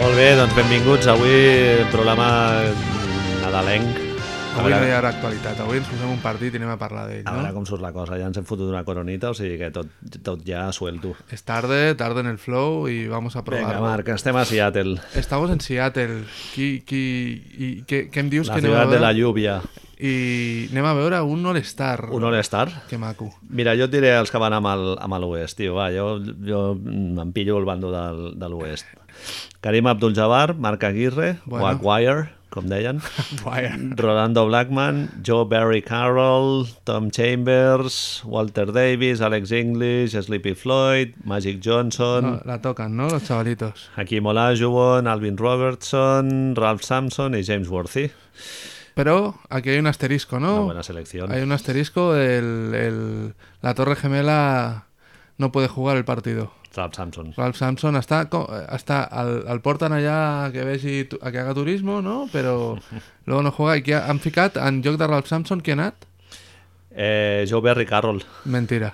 Molt bé, doncs benvinguts. Avui programa nadalenc. A Avui no hi veure, haurà actualitat, avui ens posem un partit i anem a parlar d'ell, a veure no? com surt la cosa. Ja ens hem fotut una coronita, o sigui que tot, tot ja suelto. Es tarde, tarde eh? en el flow y vamos a Vinga, probar. Marc, estem a Seattle, Estamos en Seattle. Qui, qui, i, què, què em dius la que anem a ciutat de veure? la lluvia. I anem a veure un All-Star. Un all-star? Que maco. Mira, jo et diré els que van amb el- amb l'Oest, tio, va, jo, jo mm, em pillo el bando del, de l'Oest. Karim Abdul-Jabbar, Marc Aguirre, bueno. Bueno. o Aguirre, com deien, Guai. Rolando Blackman, Joe Barry Carroll, Tom Chambers, Walter Davis, Alex English, Sleepy Floyd, Magic Johnson, No, la tocan, ¿no? Los chavalitos. Hakim Olajuwon, Alvin Robertson, Ralph Sampson i James Worthy. Pero aquí hay un asterisco, Una ¿no? bona selecció. Hay un asterisco, el, el- la Torre Gemela no puede jugar el partido. Ralph Sampson. Ralph Sampson està, co- està el, el porten allà a que vegi tu- a que haga turismo, no? Però luego no juega. I qui ha- han ficat en lloc de Ralph Sampson qui ha anat? Eh, Joe Barry Carroll. Mentira.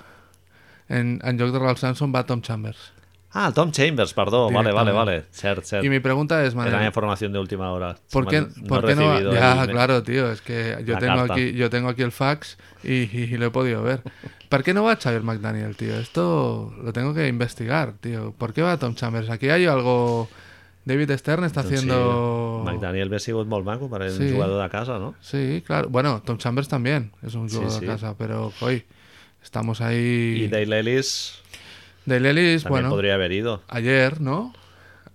En, en lloc de Ralph Sampson va Tom Chambers. Ah, Tom Chambers, perdó. Vale, vale, Directamente. vale. Cert, cert. I mi pregunta és, Era Manel, información de última hora. ¿por qué, Bueno, por he qué no va? recibido Ya, el- claro, tío, es que yo La tengo, carta. aquí, yo tengo aquí el fax y, y- y lo he podido ver. ¿Por qué no va Xavier McDaniel, tío? Esto lo tengo que investigar, tío. ¿Por qué va Tom Chambers? Aquí hay algo... David Stern está Doncs Pues sí, haciendo... McDaniel ve sigut molt maco per un Sí. jugador de casa, no? Sí, claro. Bueno, Tom Chambers también es un jugador sí. de casa, pero hoy estamos Y ahí. De Dale Ellis Dale Ellis, también bueno, podría haber ido. ayer, ¿no?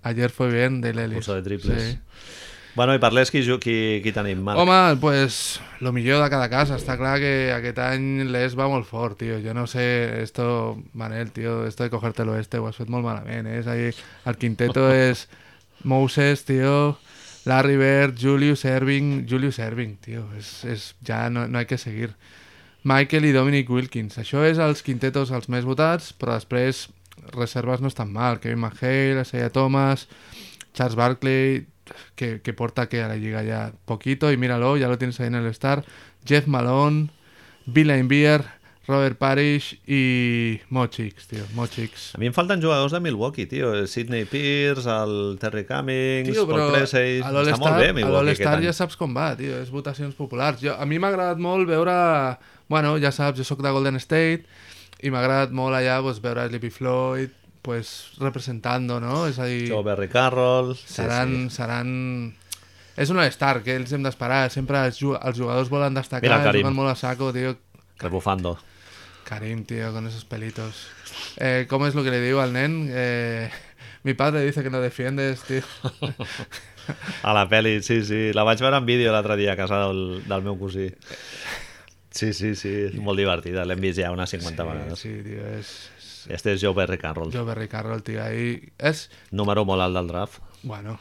Ayer fue bien Dale Ellis. Curso de triples. Sí. Bueno, i parles qui, ju- qui, qui tenim, Marc. Home, pues lo millor de cada casa. Està clar que aquest any l'est va molt fort, tio. Jo no sé, esto, Manel, tio, esto de cogerte el oeste ho has fet molt malament, eh? És a dir, el quinteto és Moses, tio, Larry Bird, Julius Erving, Julius Erving, tio. És, és, ja no, no hay que seguir. Michael i Dominic Wilkins. Això és els quintetos els més votats, però després reserves no estan mal. Kevin McHale, Isaiah Thomas, Charles Barkley, que, que porta que a la liga ya poquito, y míralo, ya lo tienes ahí en el Star. Jeff Malone, Bill Beer, Robert Parrish y Mochix, tío, Mochix. A mi em falten jugadors de Milwaukee, tio. El Sidney Pierce, el Terry Cummings, Tio, però Paul Pressey... Està a molt bé, l'All-Star a Milwaukee, l'All-Star aquest any. ja saps com va, tio, és votacions populars. Jo, a mi m'ha agradat molt veure... Bueno, ja saps, jo sóc de Golden State i m'ha agradat molt allà pues, veure Sleepy Floyd pues, representando, no? És a dir... Joe Barry Carroll... Sí, seran... sí. seran... És un all-star, que ells hem d'esperar. Sempre els, ju- els jugadors volen destacar, eh, Mira el Karim. juguen molt a saco, tio. Rebufando. Karim, tío, con esos pelitos. Eh, ¿Cómo es lo que le digo al nen? Eh, mi padre dice que no defiendes, tío. A la peli, sí, sí. La vaig veure en vídeo l'altre dia a casa del, del meu cosí. Sí, sí, sí. És molt divertida. L'hem vist ja unes 50 vegades. Sí, tío, es... es- Este és Joe Barry Carroll. Joe Berry Carroll, tío, ahí... Es... Número molt alt del draft. Bueno,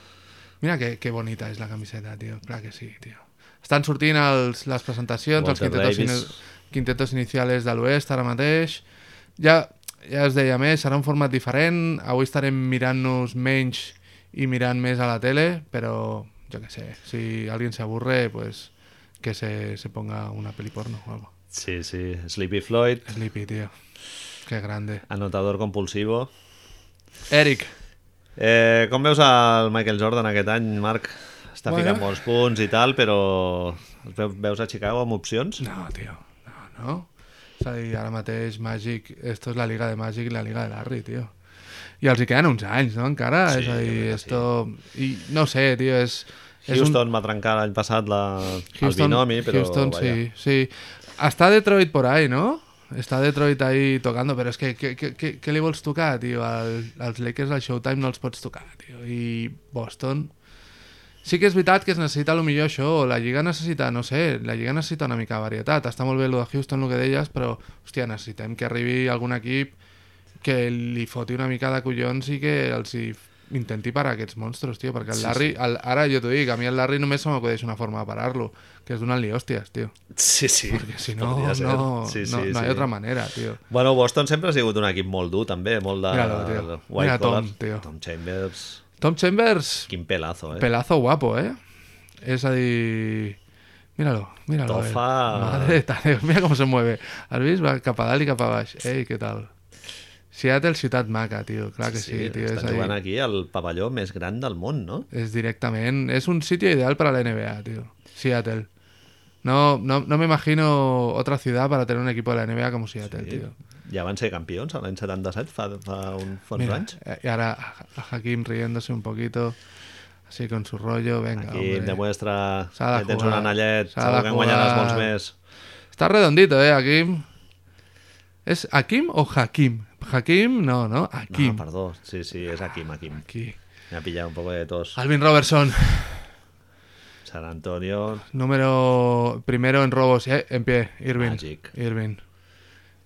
mira que, que bonita és la camiseta, tio. Clar que sí, tio. Estan sortint els, les presentacions, Walter els quintetos, Davis. ini- quintetos iniciales de l'oest ara mateix. Ja, ja es deia més, serà un format diferent. Avui estarem mirant-nos menys i mirant més a la tele, però jo què sé, si algú s'avorre, pues, que se, se ponga una peli porno o algo. Sí, sí. Sleepy Floyd, Sleepy, tío. Qué grande. anotador compulsivo. Eric, Eh, com veus el Michael Jordan aquest any, Marc? Està Bueno. ficant molts punts i tal, però els ve- veus a Chicago amb opcions? No, tío, no, no. És a dir, ara mateix Magic, esto és la Liga de Magic i la Liga de Larry, tio. I els hi queden uns anys, no, encara? Sí, és a jo crec dir, que esto... I no ho sé, tio, és... és un- Houston va trencar l'any passat la... el binomi, però... Houston, vaja. sí, sí. Està Detroit por ahí, ¿no? Està Detroit ahí tocando, però és que què, què, què, què li vols tocar, tio? El, els Lakers al Showtime no els pots tocar, tio. I Boston... Sí que és veritat que es necessita lo millor això, o la Lliga necessita, no sé, la Lliga necessita una mica de varietat. Està molt bé lo de Houston, lo que deies, però, hòstia, necessitem que arribi algun equip que li foti una mica de collons i que els hi intenti parar aquests monstros, tio, perquè el Larry, el, ara jo t'ho dic, a mi el Larry només se m'acudeix una forma de parar-lo, que és donant-li hòsties, tio. Sí, sí. Perquè si no, no, Podria ser. no, Sí, no sí, hi sí. ha altra manera, tio. Bueno, Boston sempre ha sigut un equip molt dur, també, molt de... Míralo, tio. white Mira Tom, collar. tio. Tom Chambers, Tom Chambers, quin pelazo, eh? pelazo guapo, eh? És a dir... Míralo, míralo. eh. Tofa. Madre de tal, mira com se mueve. Has vist? Va cap a dalt i cap a baix. Ei, què tal? Seattle, ciutat maca, tio. Clar que sí, tio. És, Estan ahí. jugant aquí al pavelló més gran del món, no? es directament... Es un sitio ideal para la NBA, tío. Seattle. No, no, no me imagino otra ciudad para tener un equipo de la NBA como Seattle, tío. Ja van ser campions a l'any 77, fa, fa un, fa uns Mira, anys. eh, y ahora a a Hakim riéndose un poquito, así con su rollo, venga, Aquí em hombre. demostra S'ha de que tens jugar, un anellet, s'ha de segur que en guanyaràs jugar. molts més. Está redondito, ¿eh, Hakim? ¿Es Hakim o Hakim? Hakim, no, no, No, Hakim. perdó, sí, sí, és Akim, Akim. Aquí. Me ha pillado un poco de tos. Alvin Robertson, San Antonio, número primero en robos, ¿eh? En pie, Irving. Magic. Irving.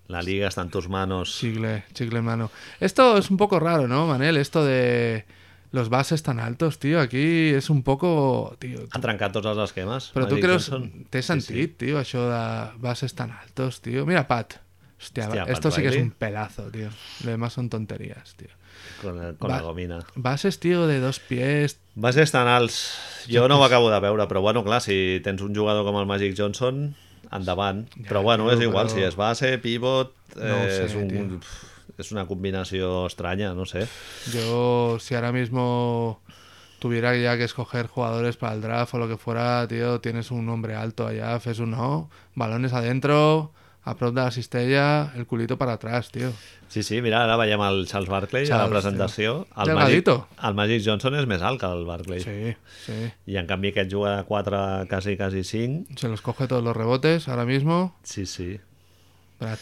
la liga está en tus manos. Chicle, chicle en mano. Esto es un poco raro, ¿no, Manel? Esto de los bases tan altos, tío. Aquí es un poco... Tío, Han trencat tots els esquemes. però tu Ah, Magic creus... Johnson. Té sentit, tio, això de bases tan altos, tío. Mira, Pat. Hostia, Hostia, Pat esto sí que es Riley. un pelazo, tío. Lo demás son tonterías, tío. Con, el- con Va. la gomina. Bases, tío, de dos pies. Va ser tan alts. Jo no ho acabo de veure, però bueno, clar, si tens un jugador com el Magic Johnson, endavant. Ja, però bueno, tio, és igual, però- si és base, pivot... eh, No ho sé, és, un, tio. és una combinació estranya, no sé. Yo, si ahora mismo tuviera ya que escoger jugadores para el draft o lo que fuera, tío, tienes un hombre alto allá, haces un no, balones adentro, a prop de la cistella, el culito para atrás, tío. Sí, sí, mira, ara veiem el Charles Barkley a la Charles, presentació. tio. El Magic, Delgadito. el Magic Johnson és més alt que el Barkley. Sí, sí. I en canvi aquest juga 4, quasi, quasi 5. Se los coge todos los rebotes ahora mismo. Sí, sí. Brad.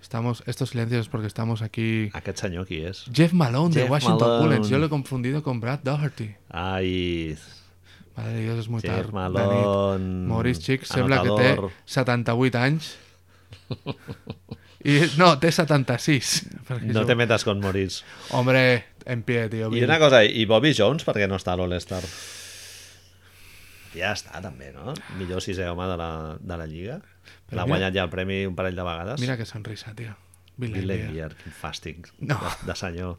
Estamos, estos silencios es porque estamos aquí. Aquest senyor qui és? Jeff Malone de Jeff Washington Malone. Bullets. Yo lo he confundido con Brad Doherty. Ai, Madre de Dios, es muy Jeff tarde. Malone... Maurice Chick sembla que té anotador. 78 anys i no, té 76 perquè No jo- te metes con Maurice. hombre, en pie, tio I Bill. una cosa, i Bobby Jones, per què no està a l'All-Star? Ja està, també, no? Millor sisè home de la, de la Lliga. Però L'ha mira- guanyat ja el premi un parell de vegades. mira que sonrisa, tio Bill Bill eh. Laimbeer. Laimbeer, quin fàstic No. de, de senyor.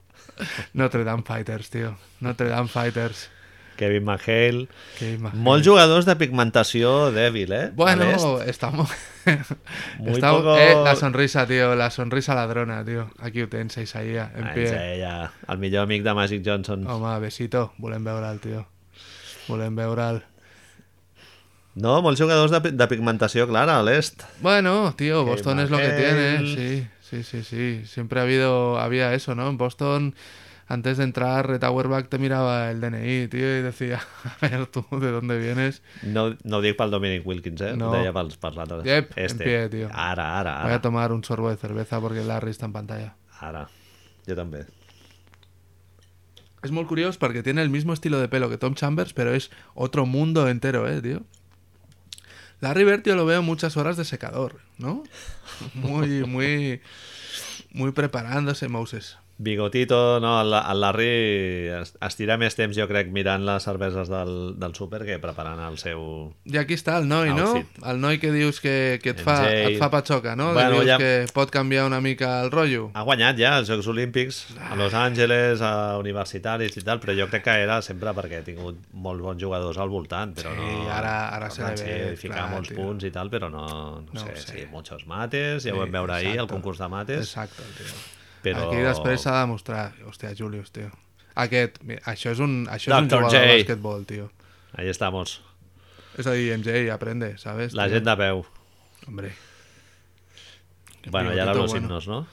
Notre Dame Fighters, tio Notre Dame Fighters Kevin McHale. que imagen. Molts jugadors de pigmentació dèbil, eh? A l'est. bueno, estamos Muy estamos poco- eh, la sonrisa, tío la sonrisa ladrona, tío aquí ho tens, Isaia, en Oh. Ah, pie és ella, el millor amic de Magic Johnson. home, besito, volem veure'l, tio volem veure'l No, molts jugadors de, pi- de pigmentació clara a l'est. Bueno, tío, Boston es lo que tiene, Markel. sí, sí, sí, sí. Siempre ha habido, había eso, ¿no? En Boston, antes de entrar, Reta Auerbach te miraba el DNI, tío, y decía, a ver tú, ¿de dónde vienes? No, no ho dic pel Dominic Wilkins, eh? No. Ho deia pels, pels altres. Yep, en pie, tio. Ara, ara, Voy a ara. tomar un sorbo de cerveza porque Larry está en pantalla. ara. Jo també. Es muy curioso porque tiene el mismo estilo de pelo que Tom Chambers, pero es otro mundo entero, ¿eh, tío? Larry Bird, tío, lo veo muchas horas de secador, ¿no? Muy, muy, muy preparándose, Moses. Bigotito, no, el, el Larry es, estira més temps, jo crec, mirant les cerveses del, del súper que preparant el seu... I aquí està el noi, no? Outfit. El noi que dius que, que et, fa, MJ. et fa patxoca, no? Bueno, Bueno, que dius ja- Ah, que pot canviar una mica el rotllo. Ha guanyat ja els Jocs Olímpics Ah. a Los Angeles, a universitaris i tal, però jo crec que era sempre perquè ha tingut molts bons jugadors al voltant, però Sí, no... ara- ara se Van li ser- ve, Ficar clar, molts tio. punts i tal, però no, no, No sé, ho sé. sí, muchos mates, ja ho vam veure ahir, el concurs de mates, Exacte, tio. però... Aquí després s'ha de mostrar... Hòstia, Julius, tio. Aquest, mira, això és un, això és un Dr. J. jugador de basquetbol, tio. Ahí estamos, És a dir, MJ aprende, ¿sabes? la tio? gent de peu. Hombre, Bueno, ja eren bigotito, los bueno. himnos, no?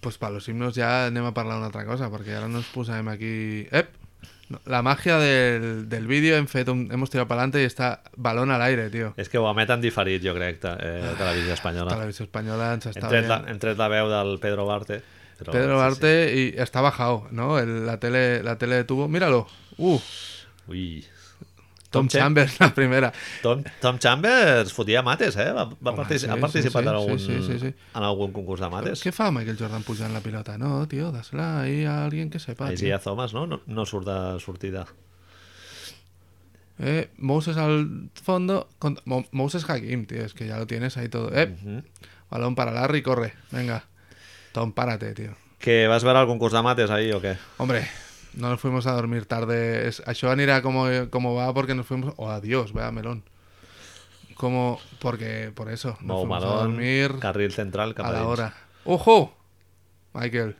pues para los himnos ja anem a parlar una altra cosa, perquè ara no ens posem aquí... Ep! No, La magia del, del vídeo, hem fet un, hemos tirado para adelante y está balón al aire, tío. És que ho emeten diferit, jo crec, te, eh, Televisió Espanyola. Ah, Televisió Espanyola ens Hem està tret, veient. la, hem tret la veu del Pedro Barte. Però, Pedro sí, Arte y está bajado, ¿no? El- la, tele, la tele de tubo. Míralo. Uh, Sí. Ui. Tom, Cham- Chambers, la primera. Tom, Tom Chambers fotia mates, eh? Va, va Home, partici sí, ha sí, participat sí, en, algun, sí, sí, sí. en algun concurs de mates. ¿Qué fa Michael Jordan pulsando la pelota? No, tío, dásela ahí a alguien que sepa. Així tío. ja Thomas, no? no? No surt de sortida. Eh, Moses al fondo. con- Mo- Moses Hakim, tío, es que ya lo tienes ahí todo. Eh, balón para Larry, corre. Venga. Tom, párate, tío. Que vas veure el concurs de mates ahir o què? Hombre, no nos fuimos a dormir tarde. Es, a Joan irá como, como va porque nos fuimos. O adiós, vea melón. Como, porque por eso. Nos Mou fuimos a Malón, dormir carril central cap a a, la dins. hora. ¡Ojo! Michael.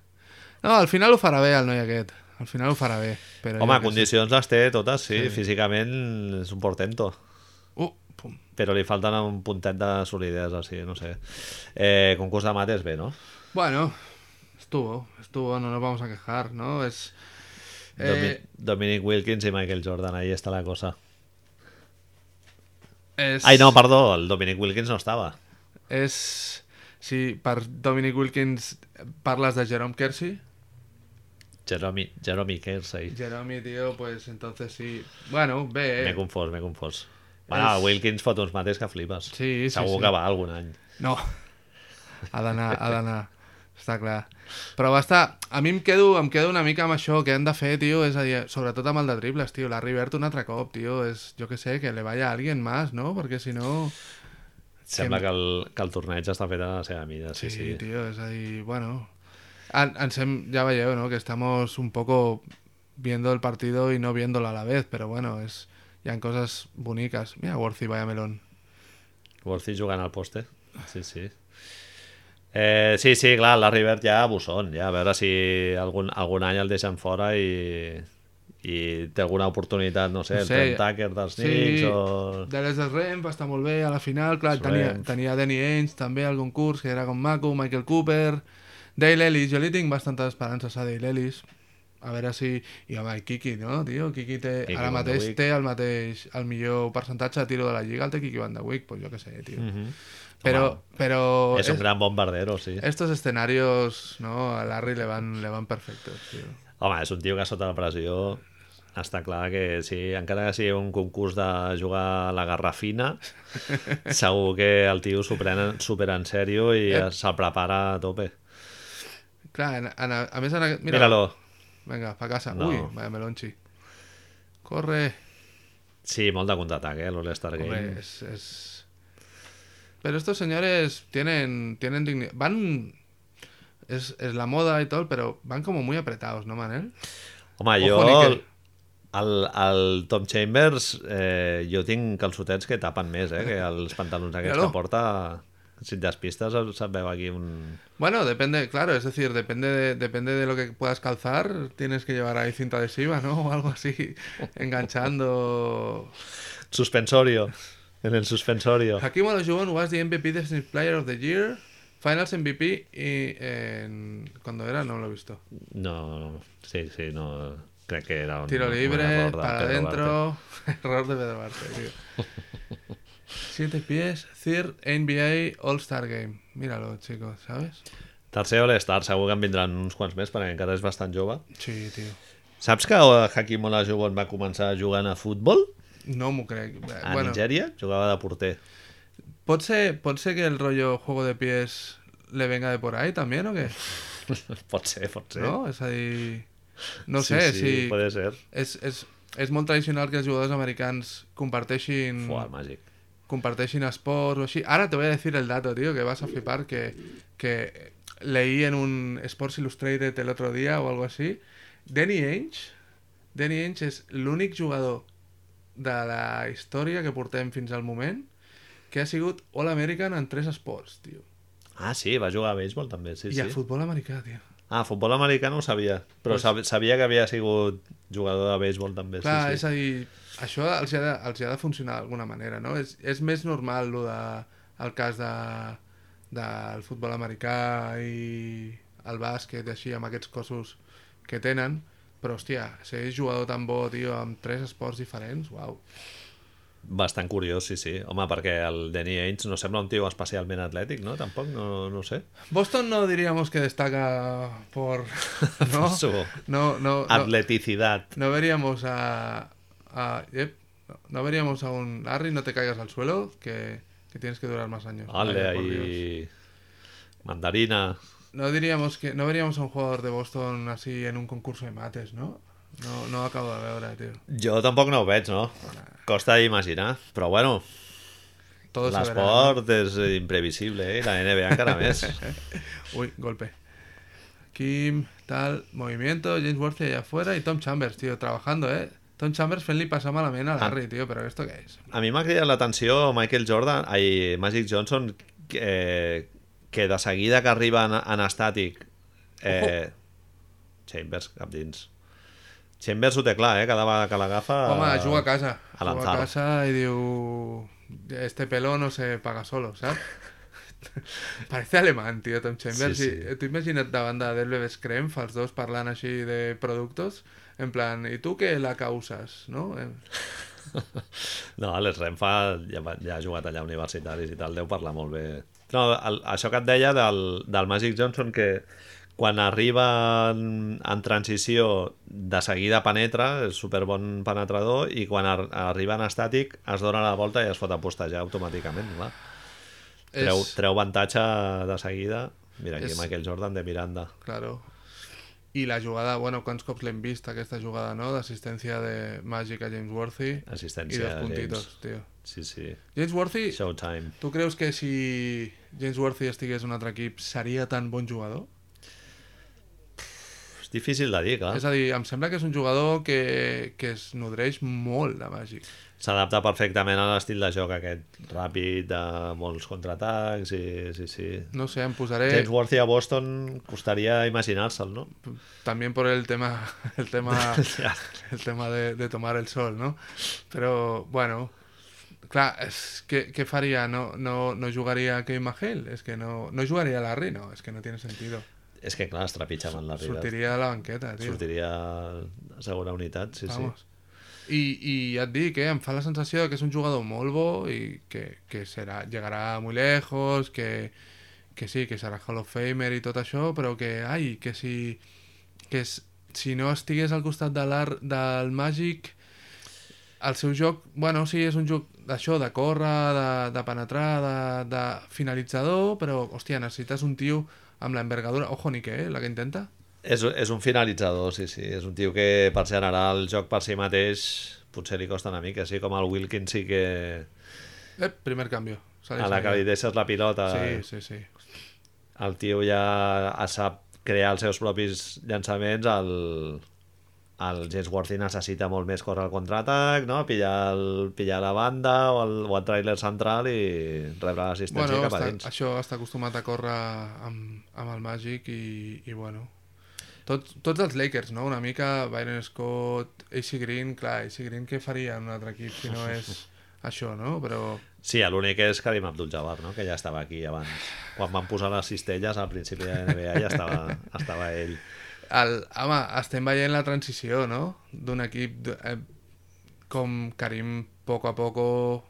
No, al final ho farà bé el noi aquest. Al final ho farà bé. Però Home, jo què sé. condicions les té totes, sí. Sí. Físicament és un portento. Uh, pum. Però li falten un puntet de solidesa, sí, no sé. Eh, concurs de mates bé, no? Bueno, estuvo, estuvo, no nos vamos a quejar, ¿no? Es. eh, Domi- Dominic Wilkins y Michael Jordan, ahí está la cosa. es- Ai, no, perdó, el Dominic Wilkins no estava. És... Si per Dominic Wilkins parles de Jerome Kersey, Jeremy, Jeremy Kersey. Jerome, tío, pues entonces sí... Bueno, bé, M'he eh? confós, m'he confós. Bueno, És- Wilkins fot uns mates que flipes. Sí, sí, Segur sí. que va algun any. No. Ha d'anar, ha d'anar. Està clar. Però va estar... A mi em quedo, em quedo una mica amb això que han de fer, tio, és a dir, sobretot amb el de dribles, tio, la Rivert un altre cop, tio, és, jo que sé, que le vaya a alguien más, no? Perquè si no... Sembla que el, que el torneig està fet a la seva mida, sí, Sí, sí. sí. tío, es ahí, bueno. An- Ansem ya va llevo, ¿no? Que estamos un poco viendo el partido y no viéndolo a la vez, pero bueno, es ya en cosas bonitas. Mira, Worthy, vaya melón. Worthy jugant al poste. Sí, sí. Eh, sí, sí, clar, la Rivert ja bussón, ja a veure si algun, algun any el deixen fora i, i té alguna oportunitat, no sé, No el sé, Trent Tucker dels Knicks o... de les de Rem va estar molt bé a la final, clar, tenia, Rem. tenia Danny Ainge també al concurs, que era com maco, Michael Cooper, Dale Ellis, jo li tinc bastantes esperances a Dale Ellis, a veure si... I home, i Kiki, no, tio? Kiki, té, Kiki ara Van de mateix Beek. té el mateix, el millor percentatge de tiro de la lliga, el té Kiki Van de Wick, pues jo què sé, tio. Mhm. Pero, pero És un es- gran bombardero, sí. estos escenarios, ¿no? A Larry le van, le van perfectos, tío. Home, és un tio que sota la pressió està clar que sí, encara que sigui un concurs de jugar a la garrafina, segur que el tio s'ho pren en- super en sèrio i Ep. se'l prepara a tope. Claro, en- en- a mí mira, Míralo. Venga, para casa. No. Uy, vaya melonchi. Corre. Sí, molt de contraatac, eh, l'All-Star Game. Hombre, es, es- Pero estos señores tienen, tienen dignidad. Van... Es, es la moda y todo, pero van como muy apretados, ¿no, Manel? Home, Ojo, jo... Níquel. El, el Tom Chambers, eh, jo tinc calçotets que tapen més, eh, que els pantalons aquests Míralo. que porta... Si et despistes, se't veu aquí un... Bueno, depende, claro, es decir, depende de, depende de lo que puedas calzar, tienes que llevar ahí cinta adhesiva, ¿no? O algo así, enganchando Suspensorio. En el suspensorio. Hakim Olajuwon was the MVP Defensive Player of the Year, Finals MVP y en... cuando era no lo he visto. No, sí, sí, no. Crec que era un... Tiro un libre, error de para Pedro Duarte. adentro, error de Pedro Duarte, tío. Siete pies, third NBA All-Star Game. Míralo, chicos, ¿sabes? Tercer All-Star, segur que en vindran uns quants més, perquè encara és bastant jove. Sí, tío. Saps que eh, Hakim Olajuwon va començar jugant a futbol? No m'ho crec. Bé, A Eh, Bueno, Nigèria? Jugava de porter. pot ser, pot ser que el rollo juego de pies le venga de por ahí también, ¿o qué? pot ser, pot ser. ¿No? Es ahí... No Sí, sé sí, si... Puede ser. és, és, és molt tradicional que els jugadors americans comparteixin, Fuà, màgic. comparteixin esports o així. Ara te voy a decir el dato, tío, que vas a flipar, que, que leí en un Sports Illustrated el otro día o algo así. Danny Ainge, Danny Ainge és l'únic jugador de la història que portem fins al moment que ha sigut All-American en tres esports, tio. Ah, sí, va jugar a béisbol també, sí, I sí. a futbol americà, tio. Ah, futbol americà no ho sabia, però Pues- sab- sabia que havia sigut jugador de béisbol també, Clar, sí, és sí. a dir, això els hi ha de, els hi ha de funcionar d'alguna manera, no? És, és més normal lo de, el cas de, del futbol americà i el bàsquet i així, amb aquests cossos que tenen, però, hòstia, ser jugador tan bo, tio, amb tres esports diferents, uau. Bastant curiós, sí, sí. Home, perquè el Danny Ainge no sembla un tio especialment atlètic, no? Tampoc, no, no ho sé. Boston no diríamos que destaca por... Por No, su no, no, no, Atleticidad. no veríamos a... a Jep, no veríamos a un Larry, no te caigas al suelo, que, que tienes que durar más años. Ole, Vaya, por Dios. ahí. Mandarina. No diríamos que no veríamos a un jugador de Boston así en un concurso de mates, ¿no? No, no acabo de ver ahora, tío. Jo tampoc no ho veig, no? Costa d'imaginar. Però bueno, Todo se verá, ¿no? l'esport és imprevisible, eh? I La NBA encara més. Uy, golpe. Kim, tal, movimiento, James Worthy allá afuera y Tom Chambers, tío, trabajando, ¿eh? Tom Chambers, Fenley pasa malamente a Larry, tío, pero ¿esto qué es? A mi m'ha cridat l'atenció Michael Jordan, ai, Magic Johnson, que, eh, que de seguida que arriba en, en estàtic Eh, Chambers, cap dins. Chambers ho té clar, eh? Cada vegada que l'agafa... Home, juga a casa. Ah, A juga a lanzar. casa i diu... Este pelo no se paga solo, saps? Parece alemán, tio, Tom Chambers. eh, Sí, Sí, sí. sí. T'ho imagina't davant de Delbebes Screm, els dos parlant així de productos, en plan, i tu què la causes, no? Eh, No, l'Es Renfa ja, va- ja ha jugat allà a universitaris i tal, deu parlar molt bé. No, el, això que et deia del, del Magic Johnson, que quan arriba en, en transició de seguida penetra, és superbon penetrador, i quan ar arriba en estàtic es dona la volta i es fot a postejar automàticament, clar. Treu, és- treu avantatge de seguida. Mira, aquí És- Michael Jordan de Miranda. Claro. I la jugada, bueno, quants cops l'hem vist aquesta jugada, no? D'assistència de Magic a James Worthy i Assistència dos de puntitos, James. tio. Sí, sí. James Worthy, Showtime. tu creus que si James Worthy estigués en un altre equip seria tan bon jugador? És difícil de dir, clar. És a dir, em sembla que és un jugador que, que es nodreix molt de Magic. S'adapta perfectament a l'estil de joc aquest, ràpid, de molts contraatacs, i, sí, sí. No sé, em posaré... James Worthy a Boston costaria imaginar-se'l, no? También por el tema, el tema, Ja. el tema de, de tomar el sol, ¿no? Pero bueno, claro, es que, ¿qué faría? ¿No, no, no jugaría Kevin Magel? Es que no, no jugaría Larry, no, es que no tiene sentido. És que, clar, es trepitja amb la River. Surtiría a la banqueta, tío. Sortiria a segona unitat, sí, sí. Vamos. I, i ja et dic, eh, em fa la sensació de que és un jugador molt bo i que, que serà, llegarà muy lejos, que, que sí, que serà Hall of Famer i tot això, però que, ai, que si, que es, si no estigués al costat de l'art del Magic, el seu joc, bueno, sí, és un joc d'això, de córrer, de, de penetrar, de, de finalitzador, però, hòstia, necessites un tio amb l'envergadura, ojo ni què, eh, la que intenta. És, és un finalitzador, sí, sí. És un tio que, per generar el joc per si mateix, potser li costa una mica, sí, com el Wilkins sí que... Ep, Eh, primer canvi. A la que li eh. deixes la pilota, Sí, sí, sí. el tio ja sap crear els seus propis llançaments el, el James Worthy necessita molt més córrer al contraatac no? pillar, el, pillar la banda o el, o el trailer central i rebre l'assistència Bueno, cap a està, dins això està acostumat a córrer amb, amb el Magic i, i bueno... Tots, tots els Lakers, no? Una mica Byron Scott, AC Green, clar, AC Green què faria en un altre equip si no és això, no? Però sí, l'únic és Karim Abdul-Jabbar no? que ja estava aquí abans quan van posar les cistelles al principi de NBA ja estava, estava ell el, home, estem veient la transició, no? D'un equip d- eh, com Karim poco a poco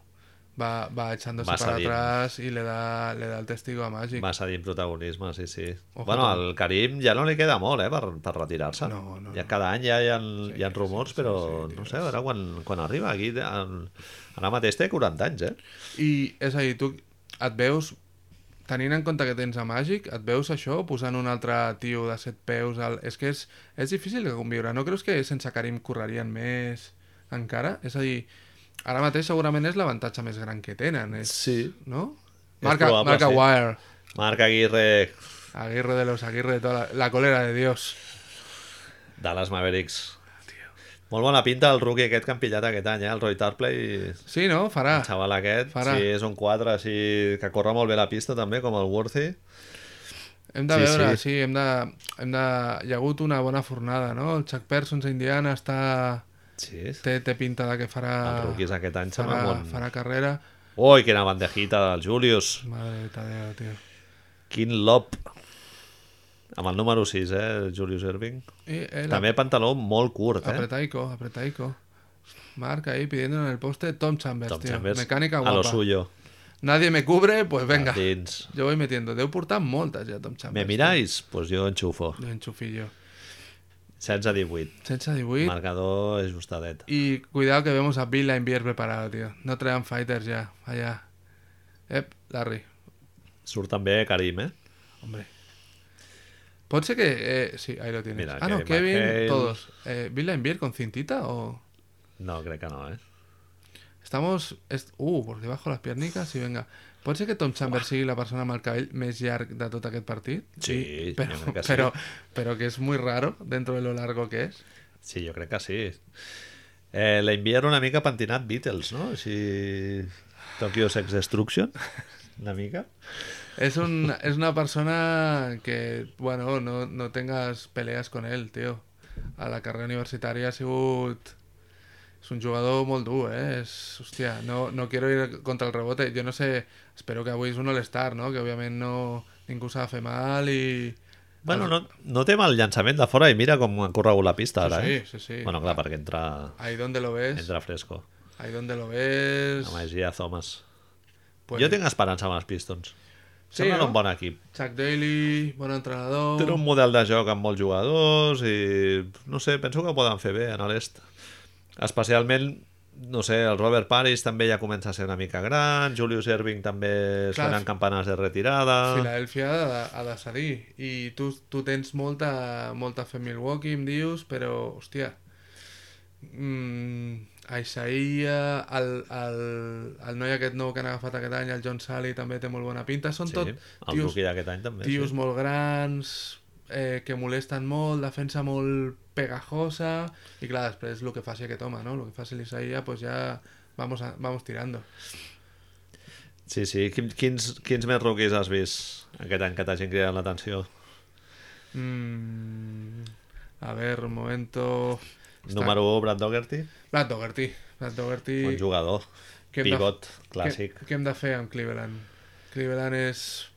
va, va echándose Va para cediendo. atrás y le da, le da el testigo a Magic. va cedint protagonisme, sí, sí. Ojo, bueno, també. al Karim ja no li queda molt, eh, per, per retirar-se. No, no, ja no. cada any ja hi ha, hi ha sí, rumors, sí, però sí, no tio, sé, a veure quan, quan arriba. Aquí, en, ara mateix té 40 anys, eh? I, és a dir, tu et veus, tenint en compte que tens a Magic, et veus això posant un altre tio de set peus... Al... És que és, és difícil de conviure. No creus que sense Karim correrien més encara? És a dir, ara mateix segurament és l'avantatge més gran que tenen. És, Sí. No? És Marca, probable, marca sí. Wire. Marc Aguirre, Aguirre de los Aguirre, toda la, la colera de Dios. Dallas Mavericks. Molt bona pinta el rookie aquest que han pillat aquest any, eh? El Roy Tarpley, Sí, no? Farà. el xaval aquest. farà. Sí, és un 4, així, que corre molt bé la pista també, com el Worthy. Hem de Sí, veure, sí. sí, hem de, hem de... Hi ha hagut una bona fornada, no? El Chuck Persons a Indiana està... Sí, el Té, té pinta de que farà... rookies aquest any se Farà, m'ha farà carrera. Ui, quina bandejita del Julius. Madre de Tadeo, tio. Quin lop. Amb el número 6, eh, Julius Irving. I el També pantaló molt curt, eh? apretaico, apretaico. Marc ahí pidiendo en el poste Tom Chambers, Tom tío. Chambers, Mecánica Doncs a lo guapa. suyo. Nadie me cubre, pues venga. Dins. Yo voy metiendo. Deu portar moltes ja, Tom Chambers. Me miráis? Pues jo enxufo. Lo enchufillo. 16-18. 16-18. Marcador ajustadet. Y cuidado que vemos a Bill Laimbier preparado, tío. No traen fighters ya, allá. Ep, Larry. Surt també Karim, eh? Hombre. Pot ser que... eh, sí, ahí lo tienes. Mira, ah, no, Kevin Kevin, McHale. todos. Eh, ¿Bill Laimbier con cintita o...? No, crec que no, eh? Estamos... est- Uh, por debajo las piernicas i venga. Pot ser que Tom Chambers sigui la persona amb el cabell més llarg de tot aquest partit? Sí, jo però, crec que sí. però, però que és muy raro dentro de lo largo que és. Sí, jo crec que sí. Eh, la enviar una mica pentinat Beatles, no? Així... Tokyo Sex Destruction. una mica. Es, un, es una persona que, bueno, no, no tengas pelees con ell, tio. A la carrera universitària ha sigut... És un jugador molt dur, eh? És, hòstia, no, no quiero ir contra el rebote. Jo no sé, espero que avui és un all-star, no? Que, òbviament, no, ningú s'ha de fer mal i... Bueno, no, no té mal llançament de fora i mira com ha corregut la pista ara, Sí, eh? sí, sí. Bueno, clar, perquè entra, Ahí donde lo ves, entra fresco. ahí donde lo ves... La magia Thomas. Pues- Jo tinc esperança amb els Pistons. Sí, Semblen no? un bon equip. Chuck Daly, bon entrenador... Tenen un model de joc amb molts jugadors i, no sé, penso que ho poden fer bé en l'est. Especialment, no sé, el Robert Paris també ja comença a ser una mica gran, Julius Erving també Clar, sonen campanes de retirada... Filadèlfia ha de, ha de cedir i tu, tu tens molta, molta fe en Milwaukee, em dius, però, hòstia, mm, Aixaia, el, el, el noi aquest nou que han agafat aquest any, el John Sally, també té molt bona pinta. Són Sí, tot el tios, rookie d'aquest any també. tios sí. molt grans, eh, que molesten molt, defensa molt pegajosa, i clar, després el que faci aquest home, no? El que faci l'Isaia, pues ja vamos, a, vamos tirando. Sí, sí. Quin- Quins, quins més rookies has vist aquest any que t'hagin cridat l'atenció? Mm, a ver, un momento. Està- Número 1, Brad Dougherty, Brad Dougherty. Brad Dougherty. bon jugador, Què hem de- pivot, Què, clàssic. què hem de fer amb Cleveland? Cleveland és...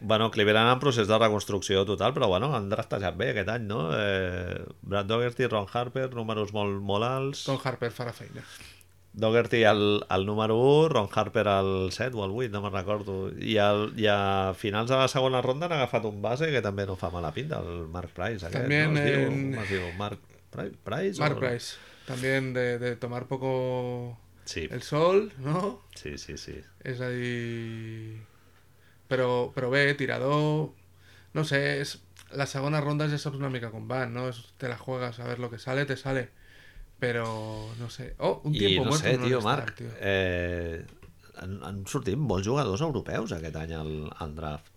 Bueno, Cleveland en procés de reconstrucció total, però bueno, han draftejat bé aquest any, no? Eh, Brad Dougherty, Ron Harper, números molt, molt alts. Tom Harper farà feina. Dougherty al, al número 1, Ron Harper al 7 o al 8, no me'n recordo. I, al, I a finals de la segona ronda han agafat un base que també no fa mala pinta, el Mark Price. Aquest, També no? Es diu, en- com es diu? Mark Pri- Price? Mark o- Price. También de, de tomar poco Sí, el sol, no? sí, sí, sí. És a dir... Però, però bé, tirador... No sé, és... La segona ronda ja saps una mica com van, no? És, te la juegas a ver lo que sale, te sale. Però, no sé... Oh, un I tiempo no muerto sé, en un tio, All-Star, Marc, tio. eh, han, han sortit molts jugadors europeus aquest any al, al draft.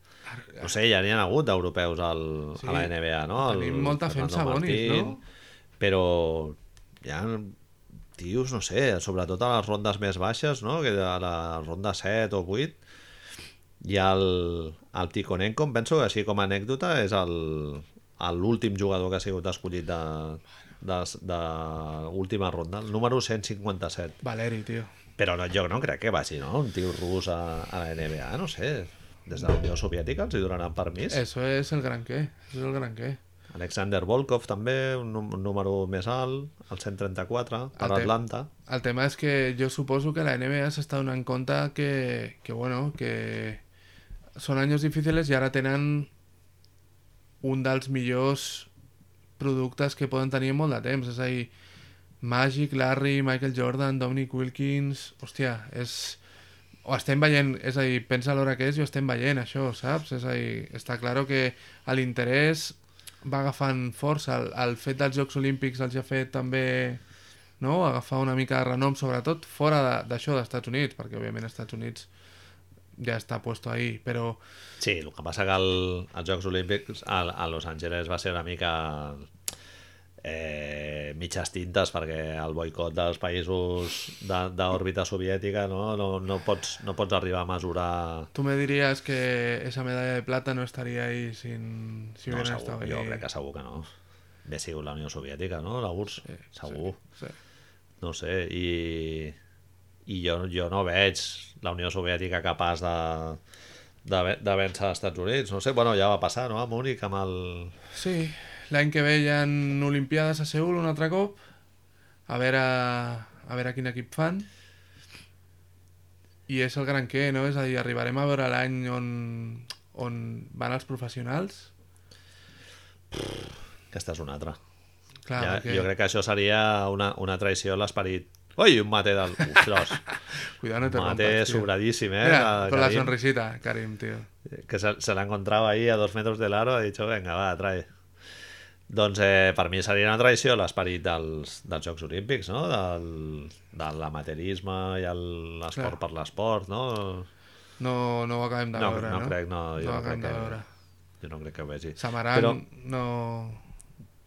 No sé, ja n'hi ha hagut d'europeus al- Sí. a la NBA, no? El, Tenim molta Fernando fem Sabonis, Martín, no? Però hi ha tios, no sé, sobretot a les rondes més baixes, no? Que a la ronda 7 o 8 i el, el Tikonenko, em penso que així com a anècdota, és el- el l'últim jugador que ha sigut escollit de, de, de última ronda, el número 157. Valeri, tio. Però no, jo no crec que vagi, no? Un tio rus a, a la NBA, no sé. Des de la Unió Soviètica els hi donaran permís. Eso es el gran qué. Eso es el gran qué. Alexander Volkov també, un, nú- un número més alt, el 134, per El te- Atlanta. El tema és que jo suposo que la NBA s'està donant compte que, que, bueno, que són anys difícils i ara tenen un dels millors productes que poden tenir en molt de temps. És a dir, Magic, Larry, Michael Jordan, Dominic Wilkins... Hòstia, és... Ho estem veient, és a dir, pensa l'hora que és i ho estem veient, això, saps? És a dir, està claro que a l'interès va agafant força. El, el fet dels Jocs Olímpics els ha fet també no? agafar una mica de renom, sobretot fora de- d'això de, d'Estats Units, perquè òbviament als Estats Units ja està puesto ahí, però Sí, el que passa que el, als Jocs Olímpics a, a Los Angeles va ser una mica eh, mitges tintes perquè el boicot dels països de- d'òrbita soviètica no, no, no, pots, no pots arribar a mesurar tu me diries que esa medalla de plata no estaria ahí sin, si no, hubieran segur, estado jo ahí. crec que segur que no. Bé sigut la Unió Soviètica, no? La URSS, segur. Sí. No sé, i, i jo, jo no veig la Unió Soviètica capaç de, de, ve- de vèncer als Estats Units. No sé, bueno, ja va passar, no? A Múnich amb el... Sí, l'any que ve hi ha Olimpiades a Seul un altre cop, a veure, a veure quin equip fan. I és el gran què, no? És a dir, arribarem a veure l'any on, on van els professionals. Aquesta és una altra. Clar, ja, perquè- Jo crec que això seria una, una traïció a l'esperit. Ui, un mate del... Ostres, Cuidado, no te un mate rompas, tío. sobradíssim, eh? Mira, de con la Karim, sonrisita, Karim, tío. Que se, se l'ha encontrat ahí a dos metres del aro, ha dit, venga, va, trae. Doncs eh, per mi seria una traïció a l'esperit dels, dels Jocs Olímpics, no? Del, de l'amaterisme i el- l'esport Clar. per l'esport, no? No, no ho acabem de No, veure, no no? crec, no, jo ho no acabem crec de que- veure. Jo no crec que ho vegi. Samaran Però, no...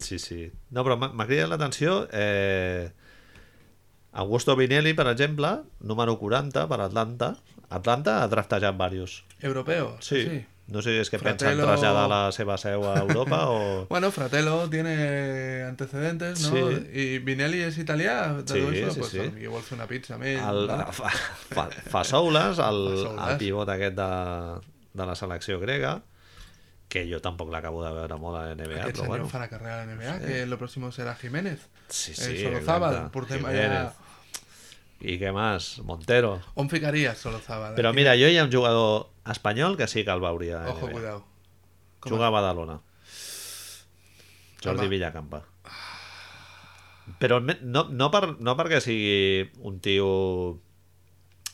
Sí, sí. No, però m'ha m'ha cridat l'atenció eh, Augusto Vinelli, per exemple, número 40 per Atlanta. Atlanta ha draftejat diversos. Europeo. Sí. No sé si és que Fratello- pensen traslladar la seva seu a Europa o... Bueno, Fratello tiene antecedentes, ¿no? Sí. Y Vinelli es italià, de Sí, tot sí, això, ah, pues, sí. igual fer una pizza amb ell. El, no? fa, fa, Fasoulas, el, Fassoulas. el pivot aquest de, de la selecció grega, que jo tampoc l'acabo de veure molt a la NBA, Aquest però senyor bueno. fa la carrera de NBA, que lo próximo será Jiménez. Sí, eh, sí, Solozábal, exacte. portem allà- Jiménez. I què més? Montero. On ficaries Solozábal? Però mira, jo hi ha un jugador espanyol que sí que el veuria. a eh. Ojo, NBA. cuidado. Com Juga a Badalona. Jordi Home. Villacampa. Però me- no, no, per, no perquè sigui un tio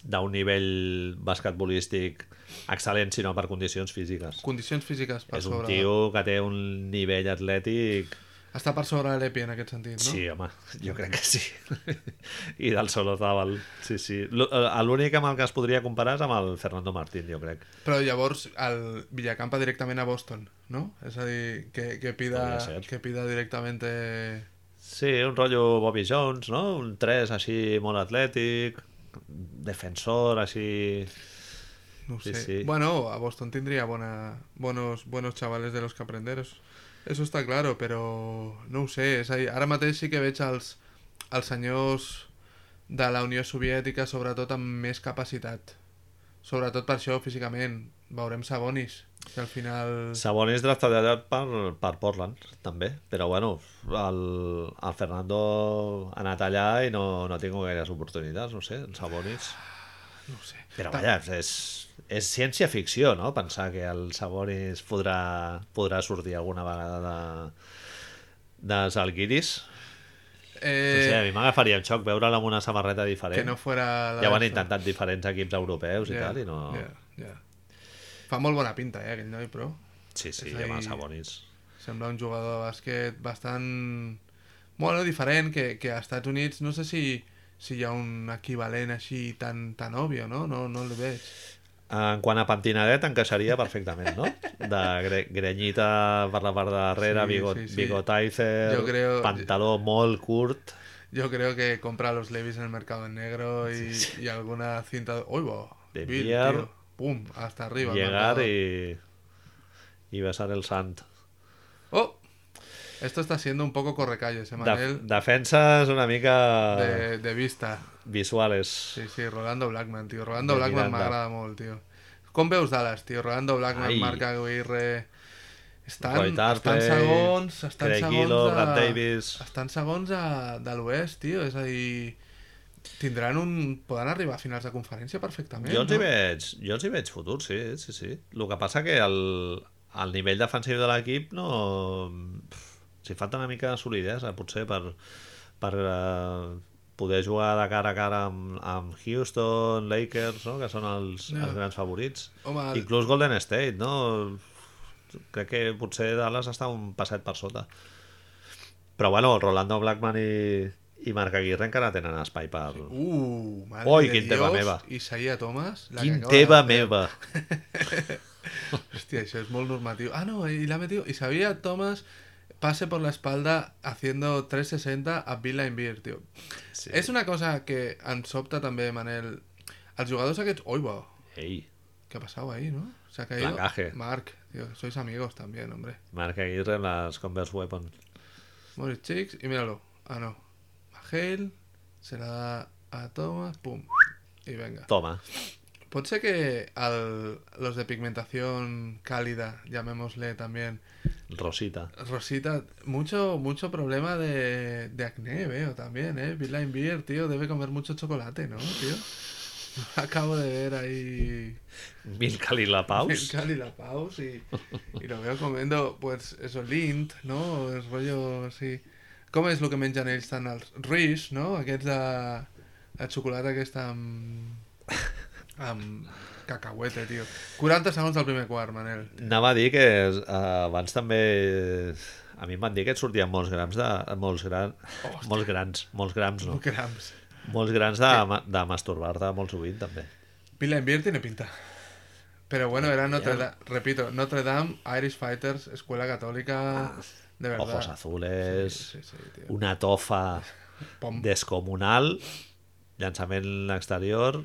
d'un nivell basquetbolístic excel·lent, sinó per condicions físiques. Condicions físiques per És un sobre... tio que té un nivell atlètic... Està per sobre de l'Epi en aquest sentit, no? Sí, home, jo crec que sí. I del Solozábal, sí, sí. L'ú- eh, L'únic amb el que es podria comparar és amb el Fernando Martín, jo crec. Però llavors el Villacampa directament a Boston, no? És a dir, que, que, pida, Podria ser. que pida directament... eh, Sí, un rotllo Bobby Jones, no? Un 3 així molt atlètic, defensor així... No Sí, sé. sí. Bueno, a Boston tendría buena, buenos, buenos chavales de los que aprender. Eso, eso está claro, pero no ho sé. És a dir, ara mateix sí que veig els, els senyors de la Unió Soviètica, sobretot amb més capacitat. Sobretot per això, físicament. Veurem Sabonis, que al final... Sabonis draftat per, per Portland, també. Però, bueno, el, el Fernando ha anat allà i no, no ha tingut gaires oportunitats, no sé, en Sabonis. No ho sé. Però, Ta- vaja, és, és ciència-ficció, no?, pensar que el Sabonis podrà, podrà sortir alguna vegada de, de Zalgiris. No sé, a Eh, mi m'agafaria en xoc veure'l amb una samarreta diferent. que no fuera... La Ja ho han d'esta. intentat diferents equips europeus i Ja, Pues tal, i no... Ja, ja. Fa molt bona pinta, eh, aquell noi, però... Sí, sí, És ja ahí- va, Sabonis. Sembla un jugador de bàsquet bastant... Bueno, diferent, que, que a Estats Units no sé si, si hi ha un equivalent així tan, tan obvio, no? No, no el veig. En quant a pentinadet, encaixaria perfectament, no? De gre grenyita per la part de darrere, sí, Sí, bigot, sí, sí, sí. sí. bigotizer, Jo creo- pantaló molt curt... Yo creo que compra los Levis en el mercado negro y, y alguna cinta... ¡Uy, va! De Bill, billar. tío. ¡Pum! Hasta arriba. el llegar marcador. i, i besar el sant. ¡Oh! Esto está siendo un poco correcalles, eh, De Manel. defenses una mica de... De, de vista. visuales. Sí. Sí, sí, Rolando Blackman, tío. Rolando De Blackman Miranda. m'agrada molt, tio. Com veus Dallas, tio? Rolando Blackman, Ai. Marc Aguirre... Estan, Roy estan Tarpley, segons... Estan Craig segons Gillo, a- Brad Davis... Estan segons a, de l'oest, tio. És a dir... Tindran un... Poden arribar a finals de conferència perfectament, Jo els, hi no? veig, jo els hi veig futur, sí, sí, sí. El que passa que el, el nivell defensiu de l'equip no... pff, Si falta una mica de solidesa, potser, per, per eh, poder jugar de cara a cara amb, amb Houston, Lakers, no? que són els, Ja. els grans favorits. Home, el- Inclús Golden State, no? Crec que potser Dallas està un passet per sota. Però bueno, Rolando Blackman i, i Marc Aguirre encara tenen espai per... Uh, madre Oi, de quin teva Dios, meva. Isaiah Thomas. la que Quin acaba de teva fer. meva! Hostia, eso es muy normativo. Ah, no, y la ha metido. Y sabía Thomas pase por la espalda haciendo 360 a Bill Laimbeer, tío. Sí. És una cosa que ens sobta també, Manel. Els jugadors aquests... Oi, bo, Ei, què ha passat ahí, no? Se ha caído... Placaje. Marc, tío, sois amigos también, hombre. Marc Aguirre en les Converse Weapon. Morris Chicks, y míralo. Ah, no. Magel, se la da a Thomas, pum. Y venga. Toma. Pot ser que al- los de pigmentación cálida, llamémosle también, Rosita. Rosita, mucho, mucho problema de, de acné veo también, ¿eh? Bill Beer, tío, debe comer mucho chocolate, ¿no, tío? Acabo de ver ahí Milka Lila Paus. Milka y la Paus y, y lo veo comiendo, pues, eso, lint, ¿no? Es rollo así... Com és el que mengen ells tant els Reese, no? Aquests de... La xocolata aquesta amb... amb cacauete, tio. 40 segons del primer quart, Manel. Anava a dir que eh, abans també... A mi em van dir que et sortien molts grams de... Molts, gran, molts grans, molts grams no. Grams. Molts grans de, ma- de masturbar-te molt sovint també. Bill Beer tiene pinta. Pero bueno, era Notre Dame, repito, Notre Dame, Irish Fighters, Escuela Católica, de verdad. Ojos Ah, azules, Sí, sí, sí, tío. una tofa Pom. descomunal, llançament exterior,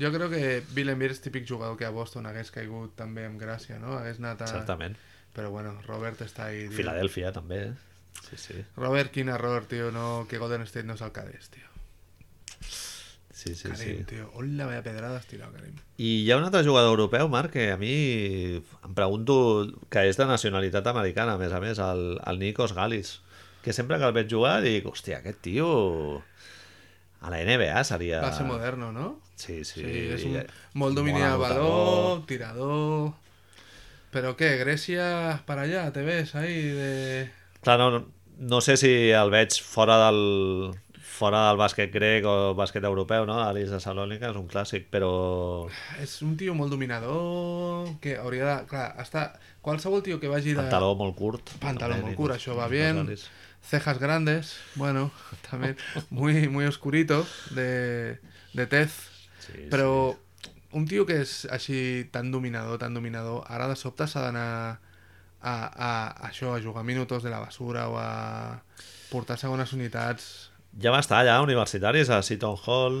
Jo crec que Villenbir és típic jugador que a Boston hagués caigut també amb gràcia, no? Hagués anat a... certament. Però bueno, Robert està ahí... tio. Filadèlfia, també. eh? Sí, sí. Robert, quin error, tio, no, que Golden State no és el Cadés, tio. sí, sí, Karim, sí. tio. Hola, vaya pedrada has tirat, Karim. I hi ha un altre jugador europeu, Marc, que a mi em pregunto que és de nacionalitat americana, a més a més, el, el Nikos Galis, que sempre que el veig jugar dic, hòstia, aquest tio a la NBA seria... Va ser moderno, no? Sí, sí. Sí, és un... Molt domini del anotador. baló, tirador... Però què, Grècia per allà, te ves ahí de... Clar, no, no sé si el veig fora del fora del bàsquet grec o bàsquet europeu, no? L'Alis de Salònica és un clàssic, però És un tio molt dominador, que hauria de... Clar, està... Qualsevol tio que vagi de... pantaló molt curt. Pantaló també, molt Nikos- curt, això va Nikos bien. Galis. cejas grandes, bueno, también muy, muy oscurito de, de tez, Sí, pero un tío que és així tan dominador, tan dominador, ara de sobte s'ha d'anar a, a, a això, a jugar minutos de la basura o a portar segones unitats. Ja va estar allà, universitaris, a Seton Hall,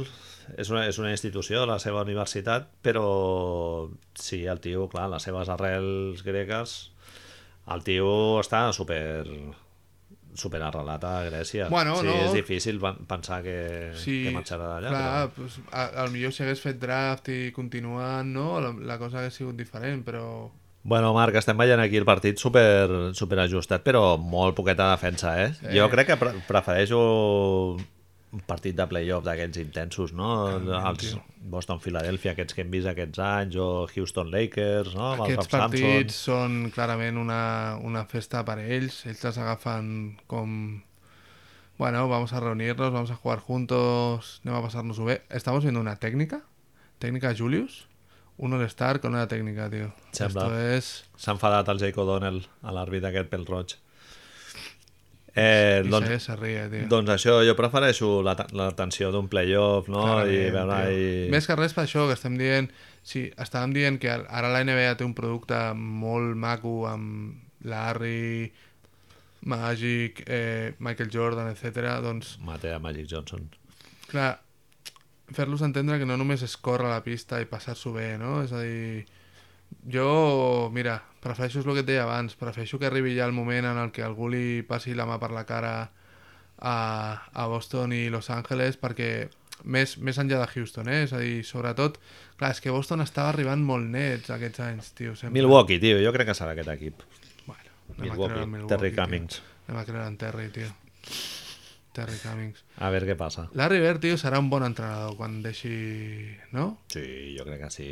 és una, és una institució, la seva universitat, però sí, el tio, clar, les seves arrels gregues, el tio està super super arrelat a Grècia. Bueno, sí, no. és difícil pen- pensar que, Sí, que marxarà d'allà. clar, Però... pues, a, al millor si hagués fet draft i continuant, no? La, la cosa hagués sigut diferent, però... Bueno, Marc, estem veient aquí el partit super, super ajustat, però molt poqueta defensa, eh? Sí. Jo crec que pre prefereixo un partit de playoff d'aquests intensos, no? Els tio. Boston-Philadelphia, aquests que hem vist aquests anys, o Houston-Lakers, no? Amb el Aquests Rob partits són clarament una, una festa per a ells. Ells les agafen com... Bueno, vamos a reunirnos, vamos a jugar juntos, anem a passar-nos-ho bé. Estamos viendo una técnica, técnica Julius, un All-Star con una técnica, tío. Sembla. Esto es... S'ha enfadat el Jake O'Donnell a l'àrbit aquest pel roig. Eh, I doncs, se, se ríe, tío. doncs això, jo prefereixo la, la tensió d'un playoff, no? I Clarament, veure... tio. I... Més que res per això que estem dient... Sí, estàvem dient que ara la NBA té un producte molt maco amb Larry, Magic, eh, Michael Jordan, etc. Doncs Matea Magic Johnson. Clar, fer-los entendre que no només és córrer a la pista i passar-s'ho bé, no? És a dir, jo, mira, prefereixo és el que et deia abans, prefereixo que arribi ja el moment en el que algú li passi la mà per la cara a, a Boston i Los Angeles perquè més, més enllà de Houston, eh? És a dir, sobretot, clar, és que Boston estava arribant molt nets aquests anys, tio, sempre. Milwaukee, tio, jo crec que serà aquest equip. Bueno, anem a creure Milwaukee, en Milwaukee, Terry tio. Cummings. Anem a creure en Terry, tio. Terry Cummings. A veure què passa. Larry Bird, tio, serà un bon entrenador quan deixi... No? Sí, jo crec que sí.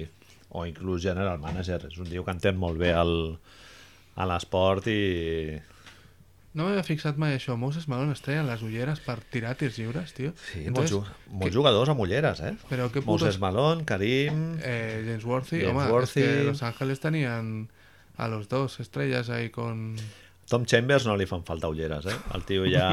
O inclús general manager. És un tio que entén molt bé el, a l'esport i... No m'havia fixat mai això. Moses Malone es treien les ulleres per tirar tirs lliures, tio. Sí, molts, ju- molts jugadors amb ulleres, eh? Però què puto Moses és- Malone, Karim... Eh, James Worthy, James home, Worthy. es que Los Ángeles tenían a los dos estrellas ahí con... Tom Chambers no li fan falta ulleres, eh? El tio ja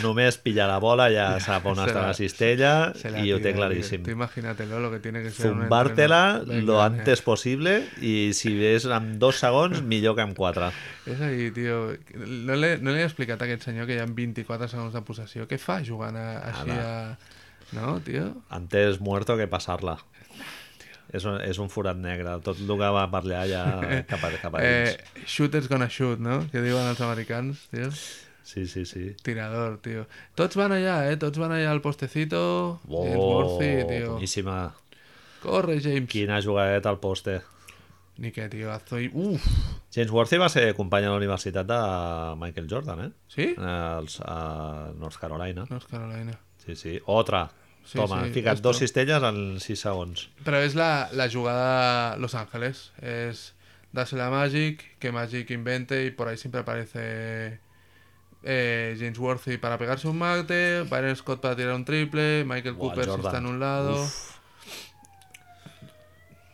només pilla la bola, ja sap on se està la- la cistella Se la i ho té tira, claríssim. tío. Tú eh, imagínatelo lo que tiene que ser un Zumbàrtela entrenador. lo Venga, eh. antes possible i si és amb dos segons, millor que amb quatre. eh, És a dir, tio, no l'he no l'he explicat a aquest senyor que hi ha 24 segons de possessió. Què fa jugant a, així a... No, tio? Antes muerto que passar-la. És un, és un forat negre. Tot el que va per allà ja cap a, cap a dins. Eh, shooters gonna shoot, no? Que diuen els americans, tio. Sí, sí, sí. Tirador, tío. Tots van allá, ¿eh? Tots van allá al postecito. James Oh, Worthy, tío. boníssima. Corre, James. Quina jugadeta al poste. Ni que, tío. Azoi... Uf. James Worthy va ser company a la universitat de Michael Jordan, eh? ¿Sí? Als, a North Carolina. No, es Carolina. Sí, sí. Otra. Sí, Toma, sí, fica't esto. dos cistelles en 6 segons. Pero es la, la jugada Los Ángeles. Es dársela a Magic, que Magic invente y por ahí siempre aparece eh, James Worthy para pegarse un mate, Byron Scott para tirar un triple, Michael Buah, Cooper si Jordan. está en un lado. Uf.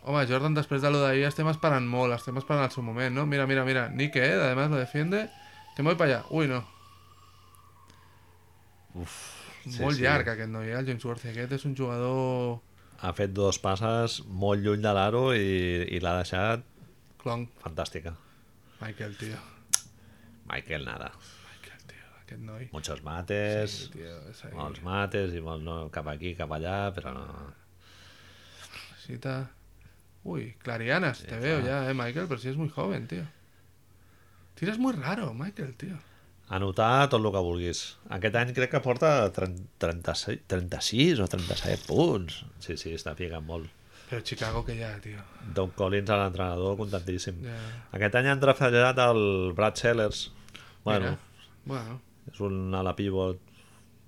Home, Jordan, després de lo d'ahir els temes paren molt, els temes paren al seu moment, no? Mira, mira, mira, Nike, eh? Además lo defiende. Que me voy para allá. Ui, no. sí, molt sí. llarg aquest noi, eh? El James Worthy aquest és un jugador... Ha fet dos passes molt lluny de l'aro i, i l'ha deixat Clon. fantàstica. Michael, tio. Michael Nada. Michael, tio. aquest noi. Muchos mates, Sí, tio, és ahí. molts mates i molts no, cap aquí, cap allà, però no... Cita. Uy, Clarianas, te veo ya, eh, Michael, pero si es muy joven, tío. Tiras muy raro, Michael, tío. Anotar tot el que vulguis. Aquest any crec que porta 30, 36, 36 o 37 punts. Sí, sí, està ficant molt. Pero Chicago que ya, tío. Don Collins, a l'entrenador, contentíssim. Ya. Aquest any han trafellat el Brad Sellers. Bueno, Mira. Bueno, és un ala pivot,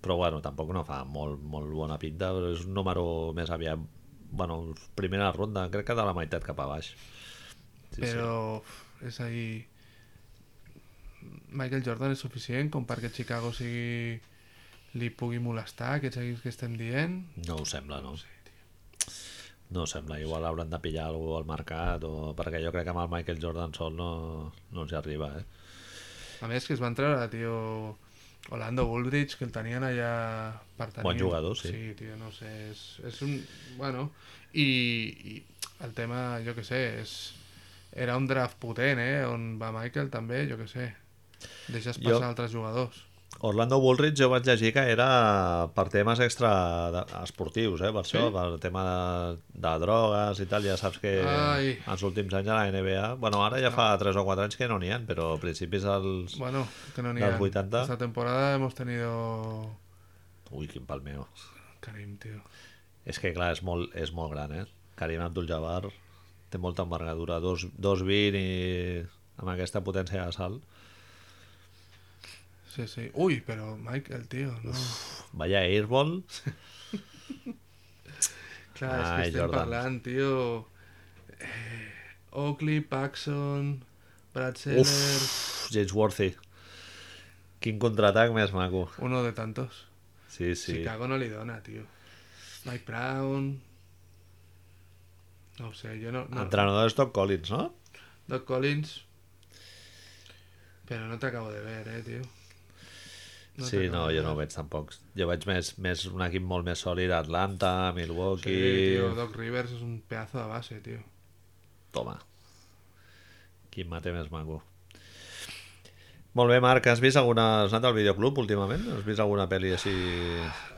però bueno, tampoc no fa molt, molt bona pinta, però és un número més aviat, bueno, primera ronda, crec que de la meitat cap a baix. Sí, pero es ahí. Michael Jordan es suficiente con que Chicago sigui li pugui molestar, que seguís que estem dient. sí. No ho sembla, no? No ho sembla, igual hauran de pillar algú al mercat, o... perquè jo crec que amb el Michael Jordan sol no, no els hi arriba, eh? A més que es van treure, tio, Orlando Bullrich, que el tenien allà per tenir. Bon jugador, sí. Sí, tio, no sé, és, és un... Bueno, i, i el tema, jo que sé, és, era un draft potent, eh? On va Michael també, jo que sé. Deixes Jo- passar jo... altres jugadors. Orlando Woolridge jo vaig llegir que era per temes extra de- esportius, eh? per això, Sí? per tema de, de drogues i tal, ja saps que Ai. en els últims anys a la NBA, bueno, ara ja fa 3 o 4 anys que no n'hi ha, però a principis dels... Bueno, que no n'hi Dels ha. 80. Esta temporada hemos tenido... Ui, quin pal meu. Carim, tio. És que clar, és molt, és molt gran, eh? Karim Abdul-Jabbar té molta envergadura, 2-20 i amb aquesta potència de salt. Sí, sí. Ui, però Michael, tio, no. Vaya airball, Clar, és que Ai, estem Jordan. parlant, tio... Eh, Oakley, Paxson, Brad Uf, Seller... James Worthy. Quin contraatac més maco. Uno de tantos. Sí, sí. Chicago no li dona, tio. Mike Brown... No ho sé, jo no... no. Entrenador és Doc Collins, no? Doc Collins... Però no t'acabo de ver, eh, tio. sí, t'acabo no, de jo ver. no ho veig tampoc. Jo veig més, més un equip molt més sòlid, Atlanta, Sí, Milwaukee... tio, Doc Rivers és un pedazo de base, tio. Toma. Quin mate més maco. Molt bé, Marc, has vist alguna... Has anat al videoclub últimament? Has vist alguna pel·li així...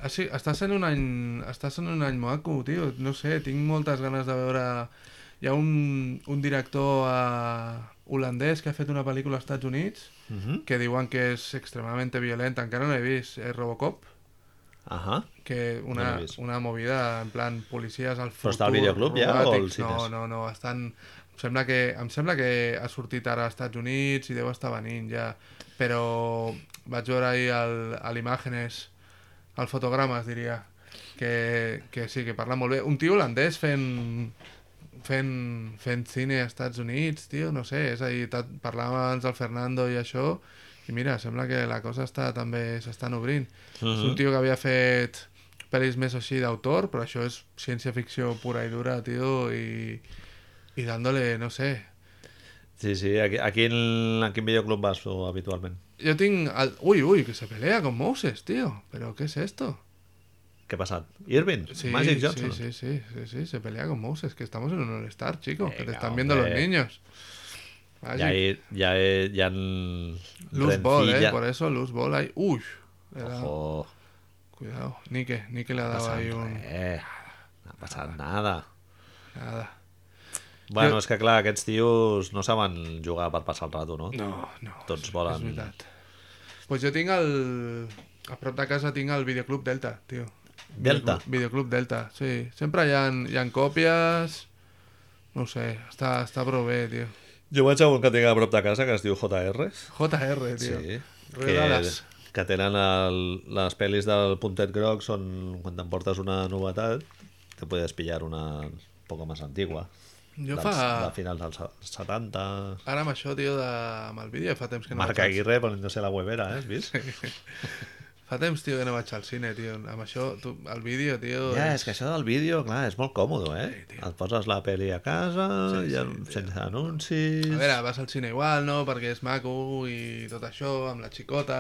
Ah, sí, estàs en un any... Estàs en un any maco, tio. No sé, tinc moltes ganes de veure... Hi ha un, un director eh, holandès que ha fet una pel·lícula als Estats Units Uh -huh. que diuen que és extremadament violent, encara no l'he vist, és Robocop, Ahà. que No una, l'he vist. una movida en plan policies al futur... Però està al videoclub ja, robòtics. o als No, cines? no, no, estan... Em sembla, que, em sembla que ha sortit ara als Estats Units i deu estar venint ja, però vaig veure ahir al- a l'Imàgenes, al Fotogrames, diria, que, que sí, que parla molt bé. Un tio holandès fent, fent, fent cine als Estats Units, tio, no sé, és a dir, ta- parlàvem abans del Fernando i això, i mira, sembla que la cosa està també s'estan obrint. Uh -huh. És Mhm. un tio que havia fet pel·lis més així d'autor, però això és ciència-ficció pura i dura, tio, i, i dándole, no sé... Sí, sí. Aquí, aquí en, a quin videoclub vas tu habitualment? Jo tinc... El... Ui, ui, que se pelea con Moses, tío. ¿Pero qué es esto? Què ha passat? Irving? Sí, Magic sí, Johnson? sí, sí, sí, sí, se pelea con Moses, que estamos en un All-Star, chico, que te Venga, están viendo los hombre. niños. Magic. Ja, hi, ja, hi, ja en... Luz Ball, eh, Rencilla- por eso Luz Ball ahí. Uy, le da- Ojo, cuidado. Nike, Nike le ha no ha dado passat ahí un. res. No ha passat nada. Nada. Bueno, és que clar, aquests tios no saben jugar per passar el rato, no? No, no. Tots és- volen- És veritat. Pues jo tinc el... A prop de casa tinc el videoclub Delta, tio. Delta? Videoclub, videoclub Delta, sí. Sempre hi ha, hi ha còpies... No ho sé, està, està prou bé, tio. Jo vaig a un que tinc a prop de casa que es diu JR. JR, tio. Sí. Que, Redades. que tenen el, les pel·lis del puntet groc són quan t'emportes una novetat te puedes pillar una un poco más antigua. Jo dels, fa... De finals dels se- 70... Ara amb això, tio, de... amb el vídeo fa temps que no Marc vaig... Aguirre poniéndose la huevera, eh? Has vist? Al... Fa temps, tio, que no vaig al cine, tio. Amb això, tu, el vídeo, tio... Ja, és que això del vídeo, clar, és molt còmode, eh? Et poses la pel·li a casa, Sí, ja, sí, tio. sense anuncis... A veure, vas al cine igual, no? Perquè és maco i tot això, Tota amb la xicota,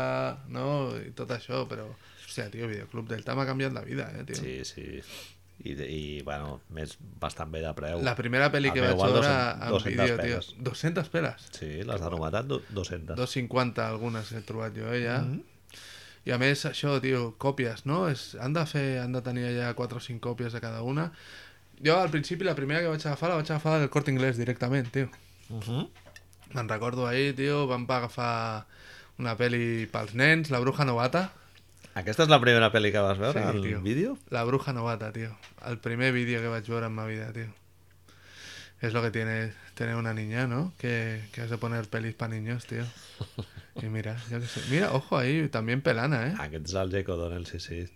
no? I tot això, però... Hòstia, tio, Videoclub Delta m'ha canviat la vida, eh, tio? Sí. Sí, sí. I, i bueno, més bastant bé de preu. La primera pel·li El que meu igual vaig veure 200 en 200 vídeo, tio... peles. 200 peles? Sí, les de novetat, du- 200. Mm-hmm. 250 algunes he trobat jo, eh, ja. Mm -hmm. I a més, això, tio, còpies, no? És, han de fer, han de tenir allà 4 o 5 còpies de cada una. Jo, al principi, la primera que vaig agafar, la vaig agafar del Corte Inglés directament, tio. Uh Mhm. -huh. Me'n recordo ahir, tio, vam agafar una pel·li pels nens, La bruja novata. Aquesta és la primera pel·li que vas veure, Sí, el tio. vídeo? La bruja novata, tio. El primer vídeo que vaig veure en ma vida, tio. Es lo que tiene tener una niña, ¿no? Que, que has de poner pelis para niños, tío. Y mira, yo qué sé. Mira, ojo ahí, también pelana, ¿eh? Aquest és el Jake O'Donnell, sí, sí.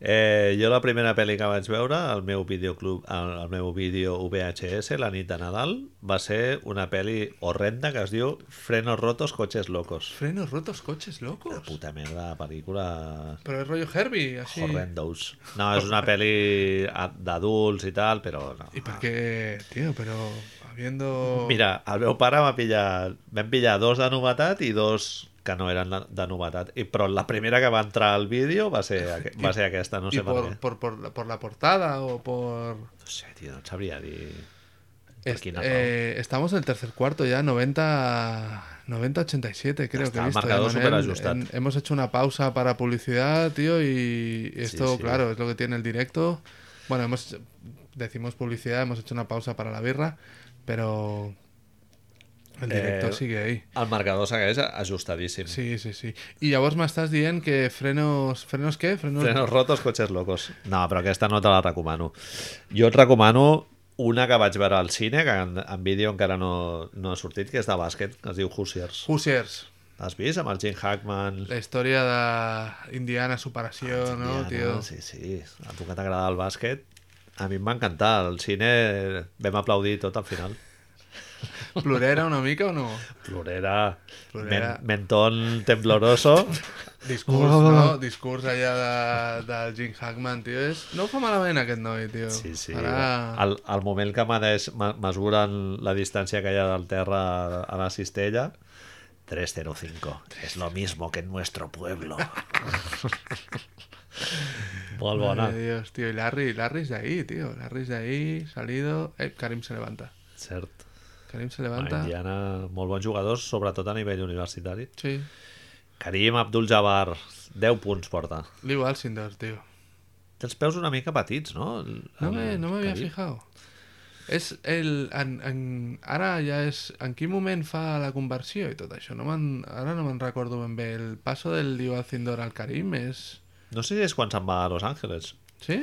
Eh, jo la primera pel·li que vaig veure al meu videoclub, al, al meu vídeo VHS, la nit de Nadal, va ser una pel·li horrenda que es diu Frenos rotos, coches locos. Frenos rotos, coches locos. Una puta merda de pel·lícula Pero es rollo Herbie, así. horrendous. No, és una pel·li a- d'adults i tal, però no. ¿Y por qué, tío? Pero habiendo... Mira, el meu pare va pillar... Vam pillar dos de novetat i dos que no eren de- de novetat. I, però la primera que va entrar al vídeo va ser, aqu- va ser aquesta, no y sé per què. por, por, por, la- por la portada o por... No sé, tío, no et sabria dir... Per Est- quina eh, estamos en el tercer cuarto ya, 90, 90 87 creo Está que he visto. marcado ¿eh, Manel? superajustado. En- hemos hecho una pausa para publicidad, tío, y esto, Sí, sí. claro, es lo que tiene el directo. Bueno, hemos decimos publicidad, hemos hecho una pausa para la birra, pero el directo Eh, sigue ahí. El marcador segueix ajustadíssim. Sí. Sí, sí, sí. Y a vos me estás diciendo que frenos... ¿Frenos qué? Frenos... Frenos rotos, cotxes locos. No, però aquesta no te la recomano. Jo et recomano una que vaig veure al cine, que en, en vídeo encara no, no ha sortit, que és de bàsquet, que es diu Hoosiers. Hoosiers. L'has vist? Amb el Jim Hackman... La historia de Indiana, su paración, ¿no, Ah, Indiana, tío? Sí, sí. A tu que t'agrada el bàsquet, a mi em va encantar. Al cine vam aplaudir tot al final. ¿Plurera una mica o no? Plorera, Plorera. Men, mentón tembloroso. Discurs, Oh. no? Discurs allà de, del Jim Hackman, tio. És... No ho fa malament aquest noi, tio. Sí, sí. Ara... Al, al moment que medeix, me- mesuren la distància que hi ha del terra a la cistella, 305. Es lo mismo que en nuestro pueblo. Molt bona. Mare de Dios, tio. I Larry, Larry és d'ahir, tio. Larry és d'ahir, salido... Eh, Karim se levanta. Cert. Karim se A levanta. Indiana, molt bons jugadors, sobretot a nivell universitari. Sí. Karim Abdul-Jabbar, 10 punts porta. Liu Alcindor, tio. Té els peus una mica petits, no? El- No me, el no m'havia Karim. fijado. És el... En, en, ara ja és... En quin moment fa la conversió i tot això? No me'n- ara no me'n recordo ben bé. El passo del Liu Alcindor al Karim és... No sé si és quan se'n va a Los Angeles. Sí?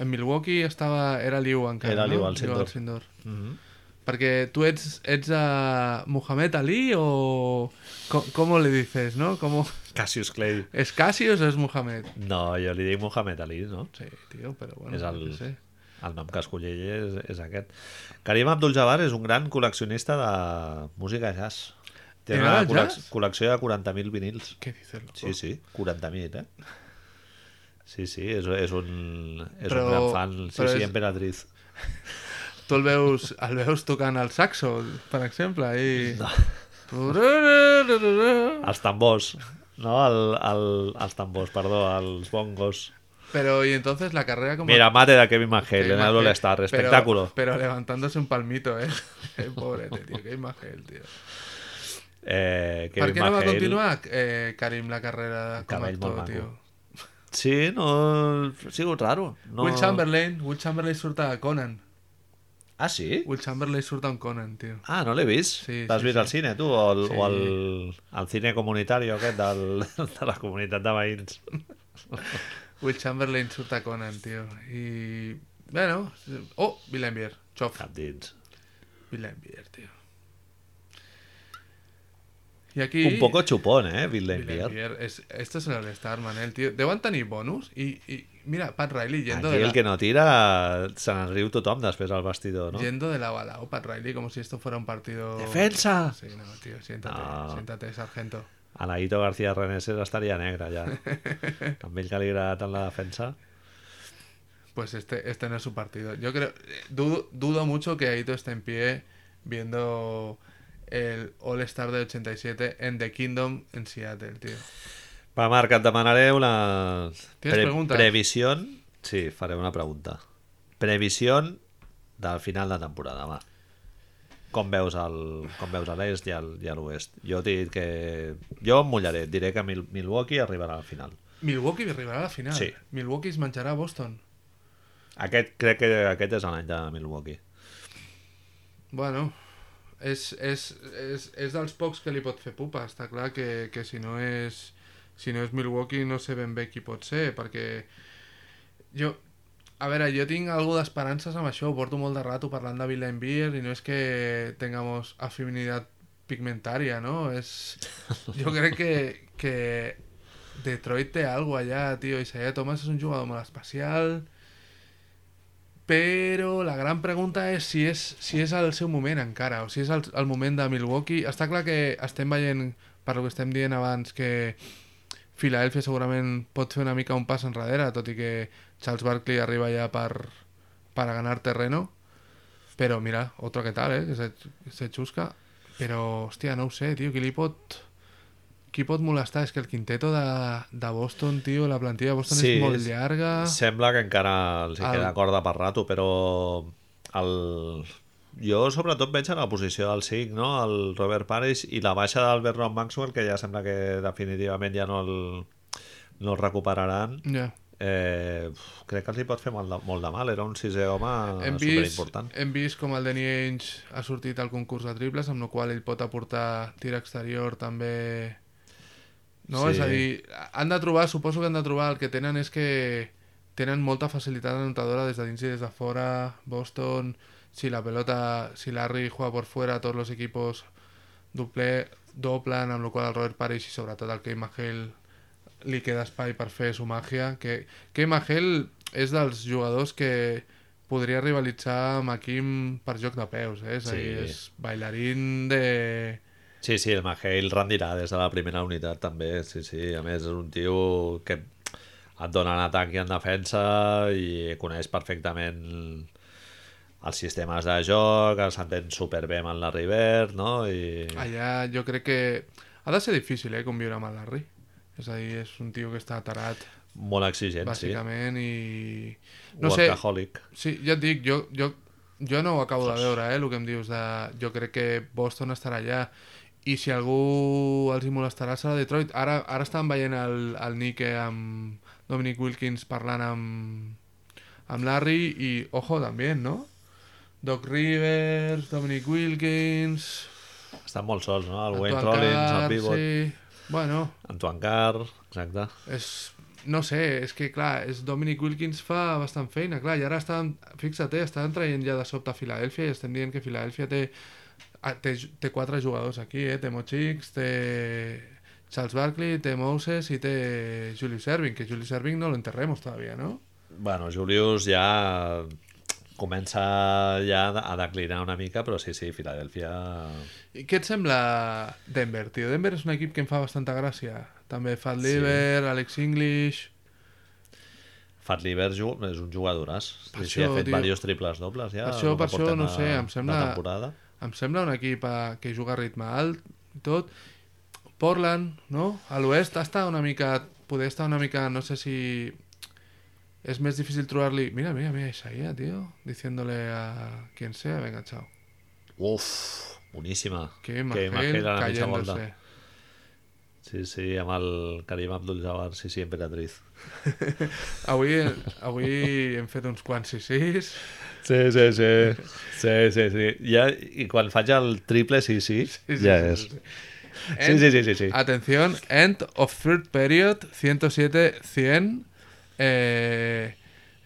En Milwaukee estava... Era Liu encara, Era no? Liu Alcindor. Alcindor. Mhm. Mm Perquè tu ets, ets a Muhammad Ali o... Co- ¿Cómo le dices, no? ¿Cómo... Cassius Clay. ¿Es Cassius o es Muhammad? No, jo li dic Mohamed Ali, no? Sí, tío, però bueno, És el- jo què sé. El nom que escollí és, és aquest. Karim Abdul-Jabbar és un gran col·leccionista de música jazz. Té T'agrada una el col·lec jazz? col·lecció de 40.000 vinils. Què dices, loco? Sí, sí, 40.000, eh? Sí, sí, és, és, un, és Però- un gran fan. Sí, però sí, és- emperatriz. Tu el veus, el veus tocant el saxo, per exemple, i... No. No. Els tambors, no? El, el, els tambors, perdó, els bongos. Pero, y entonces la carrera como... Mira, mate de Kevin McHale Kevin en el McHale, All-Star, pero- espectáculo. Pero, levantándose un palmito, eh. Pobrete, tío, qué imagen, tío. Eh, Per Kevin què no va McHale- continuar, eh, Karim, la carrera com a Cabell molt actor, maco. tio? Sí, no... Ha sigut raro. No... Will Chamberlain, Will Chamberlain surt a Conan. Ah, sí? Will Chamberlain surt a un Conan, tio. Ah, no l'he vist. Sí, L'has sí, vist sí. al cine, tu? O, el, Sí. o el, el cine comunitari aquest del, de la comunitat de veïns. Will Chamberlain surt a Conan, tio. I... Bueno... Oh, Bill Envier. Xof. Cap dins. Bill Envier, tio. I aquí... Un poco chupón, eh, Bill Bill Lambier. Envier. Es, esto es el All-Star, Manel, tío. Deuen tenir bonus i... i mira, Pat Riley yendo Aquí de la... el que no tira se n'en riu tothom després al vestidor, no? Yendo de lado a lado, Pat Riley, como si esto fuera un partido... Defensa! Ah. Sí, no, tío, siéntate, No. siéntate, sargento. Anaïto García Reneses estaria negre, ja. Amb ell que li agrada tant la defensa. Pues este, este no es su partido. Yo creo, eh, dudo, dudo mucho que Aito esté en pie viendo el All-Star de 87 en The Kingdom en Seattle, tío. Va, Marc, et demanaré una... Tienes preguntas? Previsió... Sí, faré una pregunta. Previsió del final de temporada, va. com veus el, com veus a l'est i al- i a l'oest. Jo t'he dit que... Jo em mullaré, et diré que Mil Milwaukee arribarà al final. Milwaukee arribarà a la final. Sí. Milwaukee es menjarà a Boston. Aquest, crec que aquest és l'any de Milwaukee. Bueno, és, és, és, és dels pocs que li pot fer pupa. Està clar que, que si no és... Si no és Milwaukee no sé ben bé qui pot ser, perquè... Jo... A veure, jo tinc alguna d'esperances amb això, ho porto molt de rato parlant de Bill Beer i no és que tengamos afinidad pigmentaria, no? És... Jo crec que, que Detroit té algo allà, tio. Isaiah Thomas és un jugador molt especial. Però la gran pregunta és si és, si és el seu moment encara, o si és el, el moment de Milwaukee. Està clar que estem veient, per lo que estem dient abans, que Filadelfia segurament pot fer una mica un pas enrere, tot i que Charles Barkley arriba ja per, per a ganar terreno. Però mira, otro que tal, eh? Que se, se xusca. Però, hòstia, no ho sé, tio, qui li pot... Qui pot molestar? És que el quinteto de, de Boston, tio, la plantilla de Boston Sí, és molt és- llarga... Sembla que encara els hi El- queda corda per rato, però el... jo sobretot veig en la posició del 5, no? el Robert Parrish i la baixa d'Albert Ron Maxwell, que ja sembla que definitivament ja no el, no el recuperaran. Ja. Eh, uf, crec que els hi pot fer molt de, molt de mal. Era un sisè home hem vist, superimportant. hem vist com el Danny Ainge ha sortit al concurs de triples, amb la qual cosa ell pot aportar tir exterior també... No? Sí. És a dir, han de trobar, suposo que han de trobar, el que tenen és que tenen molta facilitat anotadora des de dins i des de fora, Boston, si la pelota, si Larry juega por fuera, tots els equipos doble, doblen, amb la qual cosa el Robert Parrish i sobretot el Kate Mahale li queda espai per fer su màgia que Kei Mahel és dels jugadors que podria rivalitzar amb Akim per joc de peus eh? és, a Sí. dir, és bailarín de... Sí, sí, el Mahale rendirà des de la primera unitat també, sí, sí, a més és un tio que et dona en atac i en defensa i coneix perfectament els sistemes de joc, s'entén superbé amb la River, no? I... allà jo crec que ha de ser difícil eh, conviure amb el Larry és a dir, és un tio que està tarat Molt exigent, sí. bàsicament i... no sé, Workaholic. Sí, ja et dic, jo, jo, jo no ho acabo de veure, eh, el que em dius. De... Jo crec que Boston estarà allà i si algú els hi molestarà serà Detroit. Ara, ara estan veient el, el Nike amb Dominic Wilkins parlant amb, amb Larry i, ojo, també, no? Doc Rivers, Dominic Wilkins... Estan molt sols, no? El Wayne Antoine Rollins, el Carr, Pivot, sí. Bueno, Antoine Carr, exacte. és... No sé, és que clar, és Dominic Wilkins fa bastant feina, clar, i ara estan, fixa't, eh, estan traient ja de sobte a Filadèlfia i estem dient que Filadèlfia té, ah, té, té quatre jugadors aquí, eh, té Mochix, té Charles Barkley, té Moses i té Julius Erving, que Julius Erving no lo enterremos todavía, ¿no? Bueno, Julius ja comença ja a declinar una mica, però sí, sí, Filadèlfia I què et sembla Denver, tio? Denver és un equip que em fa bastanta gràcia. També Fat Lever, Alex English... Fat Liver és un jugadoràs. Per Sí, sí, ha això, fet tio. diversos triples dobles ja. Per això- el que per això, portem no de- sé, em de sembla- temporada. Em sembla un equip eh, que juga a ritme alt i tot. Portland, no? A l'oest està una mica... Poder estar una mica... No sé si... És més difícil trobar-li... Mira, mira, mira, Isaia, tio. Diciéndole a quien sea, venga, chao. Uf, boníssima. Que Mahale Magel a la mitja volta. cayéndose. Sí, sí, amb el Karim Abdul-Jabbar, sí, sí, emperatriz. Avui, avui hem fet uns quants sí sís. Sí, sí, sí. Sí, sí, sí. Ja, I quan faig el triple sí, sí, Sí, sí, ja sí, és. sí, sí. Sí, sí, sí, sí, sí. Atención, end of third period, 107-100. Eh,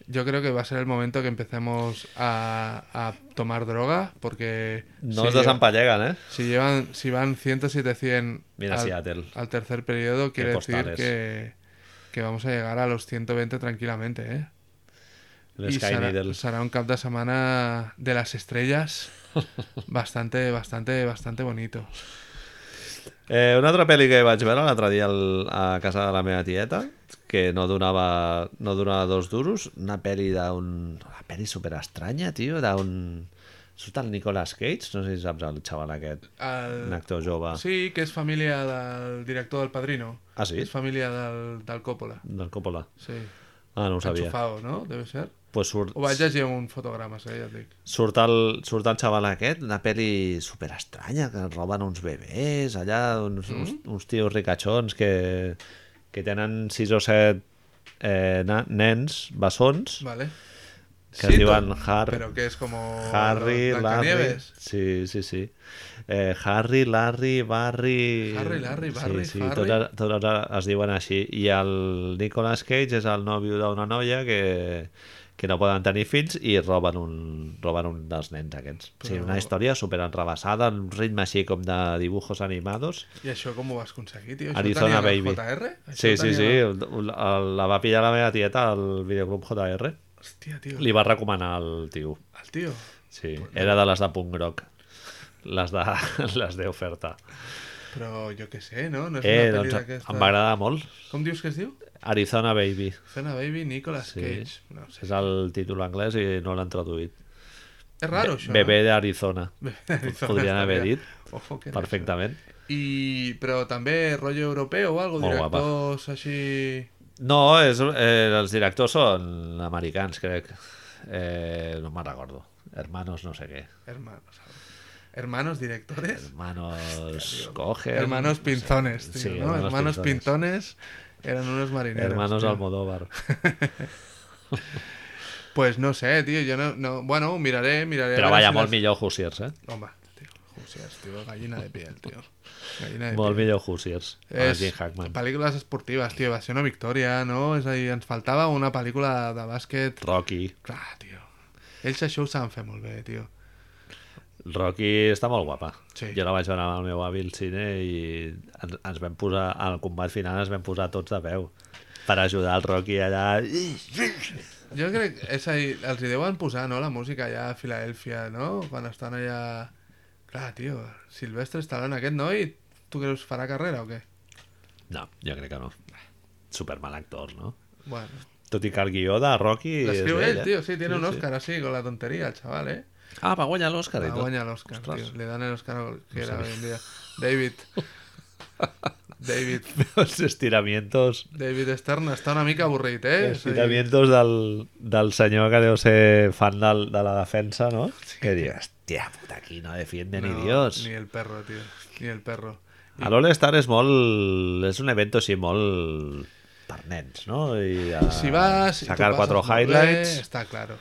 yo creo que va a ser el momento que empecemos a, a tomar droga, porque No si, es lle- desempalleguen, eh? si llevan, si van 107-100 Mira al, Seattle. al tercer periodo, quiere decir postales. que, que vamos a llegar a los 120 tranquilamente. ¿eh? El y Sky será, Needle. será un cap de semana de las estrellas bastante, bastante, bastante bonito. Eh, una altra pel·li que vaig veure l'altre dia al, a casa de la meva tieta, que no donava, no donava dos duros, una pel·li d'un... Una pel·li superestranya, tio, d'un... Surt el Nicolas Cage, no sé si saps el xaval aquest, Al- un actor jove. Eh, Sí, que és família del director del Padrino. Ah, sí? És família del, del Coppola. Del Coppola. Sí. Ah, no ho sabia. Enxufado, no? Deve ser. Pues surt, Ho vaig llegir en un fotograma, sí, ja et dic. surt, el, surt el xaval aquest, una pel·li super estranya, que roben uns bebès, allà uns, uns, Mm. uns tios ricachons que, que tenen sis o set eh, na, nens bessons, Vale. Que es diuen Har- Pero que es como... Harry, Larry... Blancanieves. Sí, sí, sí. Eh, Harry, Larry, Barry... Harry, Larry, Barry, sí, sí, Harry. Tots, tots es diuen així. I el Nicolas Cage és el nòvio d'una noia que, que no poden tenir fills i roben un, roben un dels nens aquests. Però... Sí, Però- una història super enrebaçada, en un ritme així com de dibujos animados. I això com ho vas aconseguir, tio? Això Arizona ho tenia el Baby. JR? Això Sí, ho sí, tenia sí. el- el- el- La va pillar la meva tieta al videoclub JR. Hòstia, tio. Li va recomanar el tio. El tio. Sí, Pues era de les de punt groc. Les de, les de oferta. Però jo què sé, no? No és Eh, una doncs pel·li em d'aquesta... va agradar molt. Com dius que es diu? Arizona Baby. Fena Baby Nicolas Sí. Cage. No ho sé. És el títol anglès i no l'han traduït. És raro, això, Bebé d'Arizona. no? Bebè d'Arizona Podrien estaria- haver dit Ojo, que Perfectament. I, però també rotllo europeu o algo, Molt directors així... No, és, eh, els directors són americans, crec. Eh, no me'n recordo. Hermanos no sé què. Hermanos. Hermanos directores. Hermanos Coge. Hermanos pinzones, tío, Sí, ¿no? hermanos Hermanos pintones. eran unos marineros. Hermanos tío. Almodóvar. Pues no sé, tío, yo no, no- bueno, miraré, miraré. a Però ver vaja, si molt las- millor Hoosiers, eh? Home, tío, Hoosiers, tío, gallina de piel, tío. Gallina de Molt piel. millor Hoosiers. amb Es Jim Hackman. películas esportivas, tío, va ser una victoria, no? Es ahí, ens faltaba una película de básquet. Rocky. Clar, tío. Ells això ho saben fer molt bé, tío. Rocky està molt guapa. Sí. Jo la vaig veure amb el meu avi al cine i ens, ens vam posar, al combat final ens vam posar tots de peu per ajudar el Rocky allà. Jo crec que és ahí, els hi deuen posar, no?, la música allà a Filadèlfia, no?, quan estan allà... Clar, tio, Silvestre Stallone, aquest noi, tu creus farà carrera o què? No, jo crec que no. Super mal actor, no? Bueno, Tot i que el guió de Rocky... és l'escriu d'ell, ell, eh? tio, sí, tiene un Oscar así, con la tontería, el chaval, eh? Ah, va guanyar l'Oscar i Va tot. guanyar l'Oscar, Ostres. tio, li dan el Oscar que era hoy en día. David, David, Els estiramientos, David Stern està una mica avorrit, eh? És a dir, estiramientos del, del senyor que deu ser fan del, de la defensa, no? Que diu, hòstia puta, aquí no defiende ni no, Dios. Ni el perro, tío, ni el perro. A l'All-Star és molt... És un event així molt per nens, no? I a si vas... i t'ho sacar passes quatre molt highlights... Bé, està claro.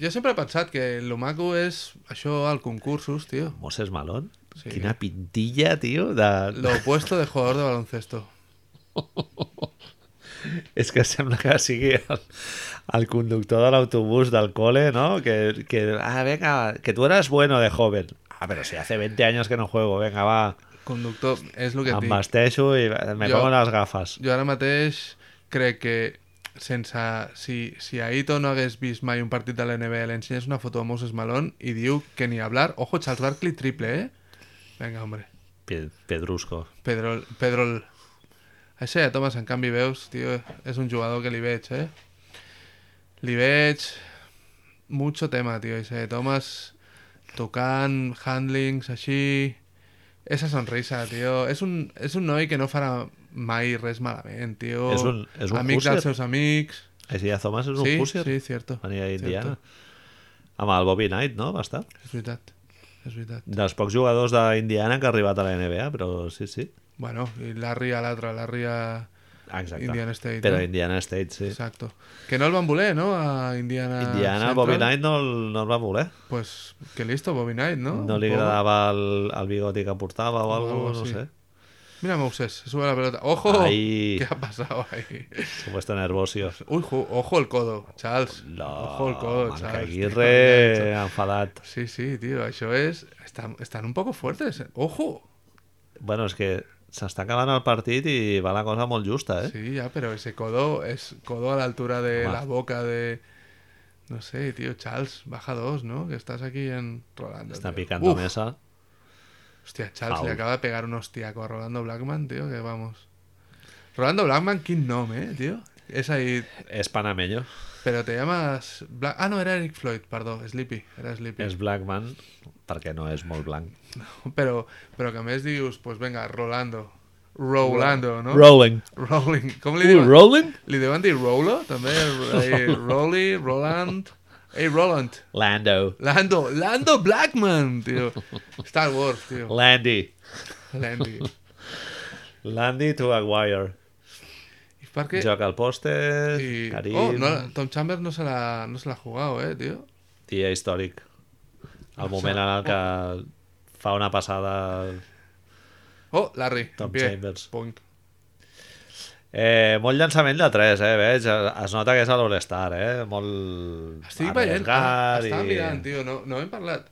Jo sempre he pensat que lo maco és això al concursos, tio. Moses Malone? Sí. Quina pintilla, tio, de... Lo opuesto de jugador de baloncesto. És que sembla que sigui el, el conductor de l'autobús del cole, no? Que, que, ah, venga, que tú eras bueno de joven. Ah, pero si hace 20 años que no juego, venga, va, Conductor, és el que et em dic. vesteixo i me Jo- pongo les gafes. Jo ara mateix crec que sense... Si, si Aito no hagués vist mai un partit de l'NBA, li ensenyes una foto de Moses Malone i diu que ni hablar... Ojo, Charles Barkley triple, eh? Venga, hombre. Pe- Pedrusco. Pedrol, Pedrol. Això ja, Tomàs, en canvi veus, tio, és un jugador que li veig, eh? Li veig mucho tema, tio, això ja, Tomàs, tocant, handlings, així... Esa sonrisa, tio. És un, és un noi que no farà mai res malament, tio. És un- és un Amic Hoosier? dels seus amics. Així ja Thomas és un Sí, Hoosier. sí, cierto. Venia d'Indiana. Cierto. Amb el Bobby Knight, no? Va estar. És veritat, és veritat. Dels pocs jugadors d'Indiana que ha arribat a la NBA, però sí, sí. Bueno, i Larry a l'altre, Larry a... Exacte. Indiana State, Però no? Indiana State, sí. Exacto. Que no el van voler, no? A Indiana Indiana, Central. Bobby Knight no, el- no el va voler. Pues que listo, Bobby Knight, ¿no? No li Un poco. agradava el, el bigoti que portava o alguna algo cosa, no así. sé. Mira Moses, se sube la pelota. ¡Ojo! Ahí. ¿Qué ha pasado ahí? Supuesto nervocio. Uy, ju- ojo el codo, Charles. No, ojo el codo, Manca Charles. Aguirre, enfadat. Sí, sí, tío, eso es. Están, están un poco fuertes. ¿eh? ¡Ojo! Bueno, és que s'està acabant el partit i va la cosa molt justa, eh? Sí, ya, pero ese codo es codo a la altura de Toma. la boca de. No sé, tío, Charles, baja dos, ¿no? Que estás aquí en Rolando. Està tío. picando Uf, mesa. Hostia, Charles Foul. le acaba de pegar un hostiaco a Rolando Blackman, tío, que vamos. Rolando Blackman, qué nombre, eh, tío. Es ahí. És panameño, Pero te llamas. Black... Ah, no, era Eric Floyd, perdón, Sleepy. Era Sleepy. és Blackman, perquè no és molt blanc. Pero, pero que a més dius, pues venga, Rolando. Rolando, no? Rolling. Rolling. Com li Uh, diuen? rolling? Li deuen dir Rolo, també? Eh, Rolly, Roland... Ei, Roland. Lando. Lando, Lando Blackman, tio. Star Wars, tio. Landy. Landy. Landy to Aguirre. I per què... Joc al pòster, I... Karim, Oh, no, Tom Chambers no se l'ha no se l'ha jugado, eh, tio. dia històric. El moment en el que fa una passada... Oh, Larry. Tom Bien. Chambers. Punk. Eh, molt llançament de 3, eh, veig. Es nota que és a l'All-Star, eh? Molt... Estic veient. ah, arriesgar Estava i- mirant, tio. No, no hem parlat.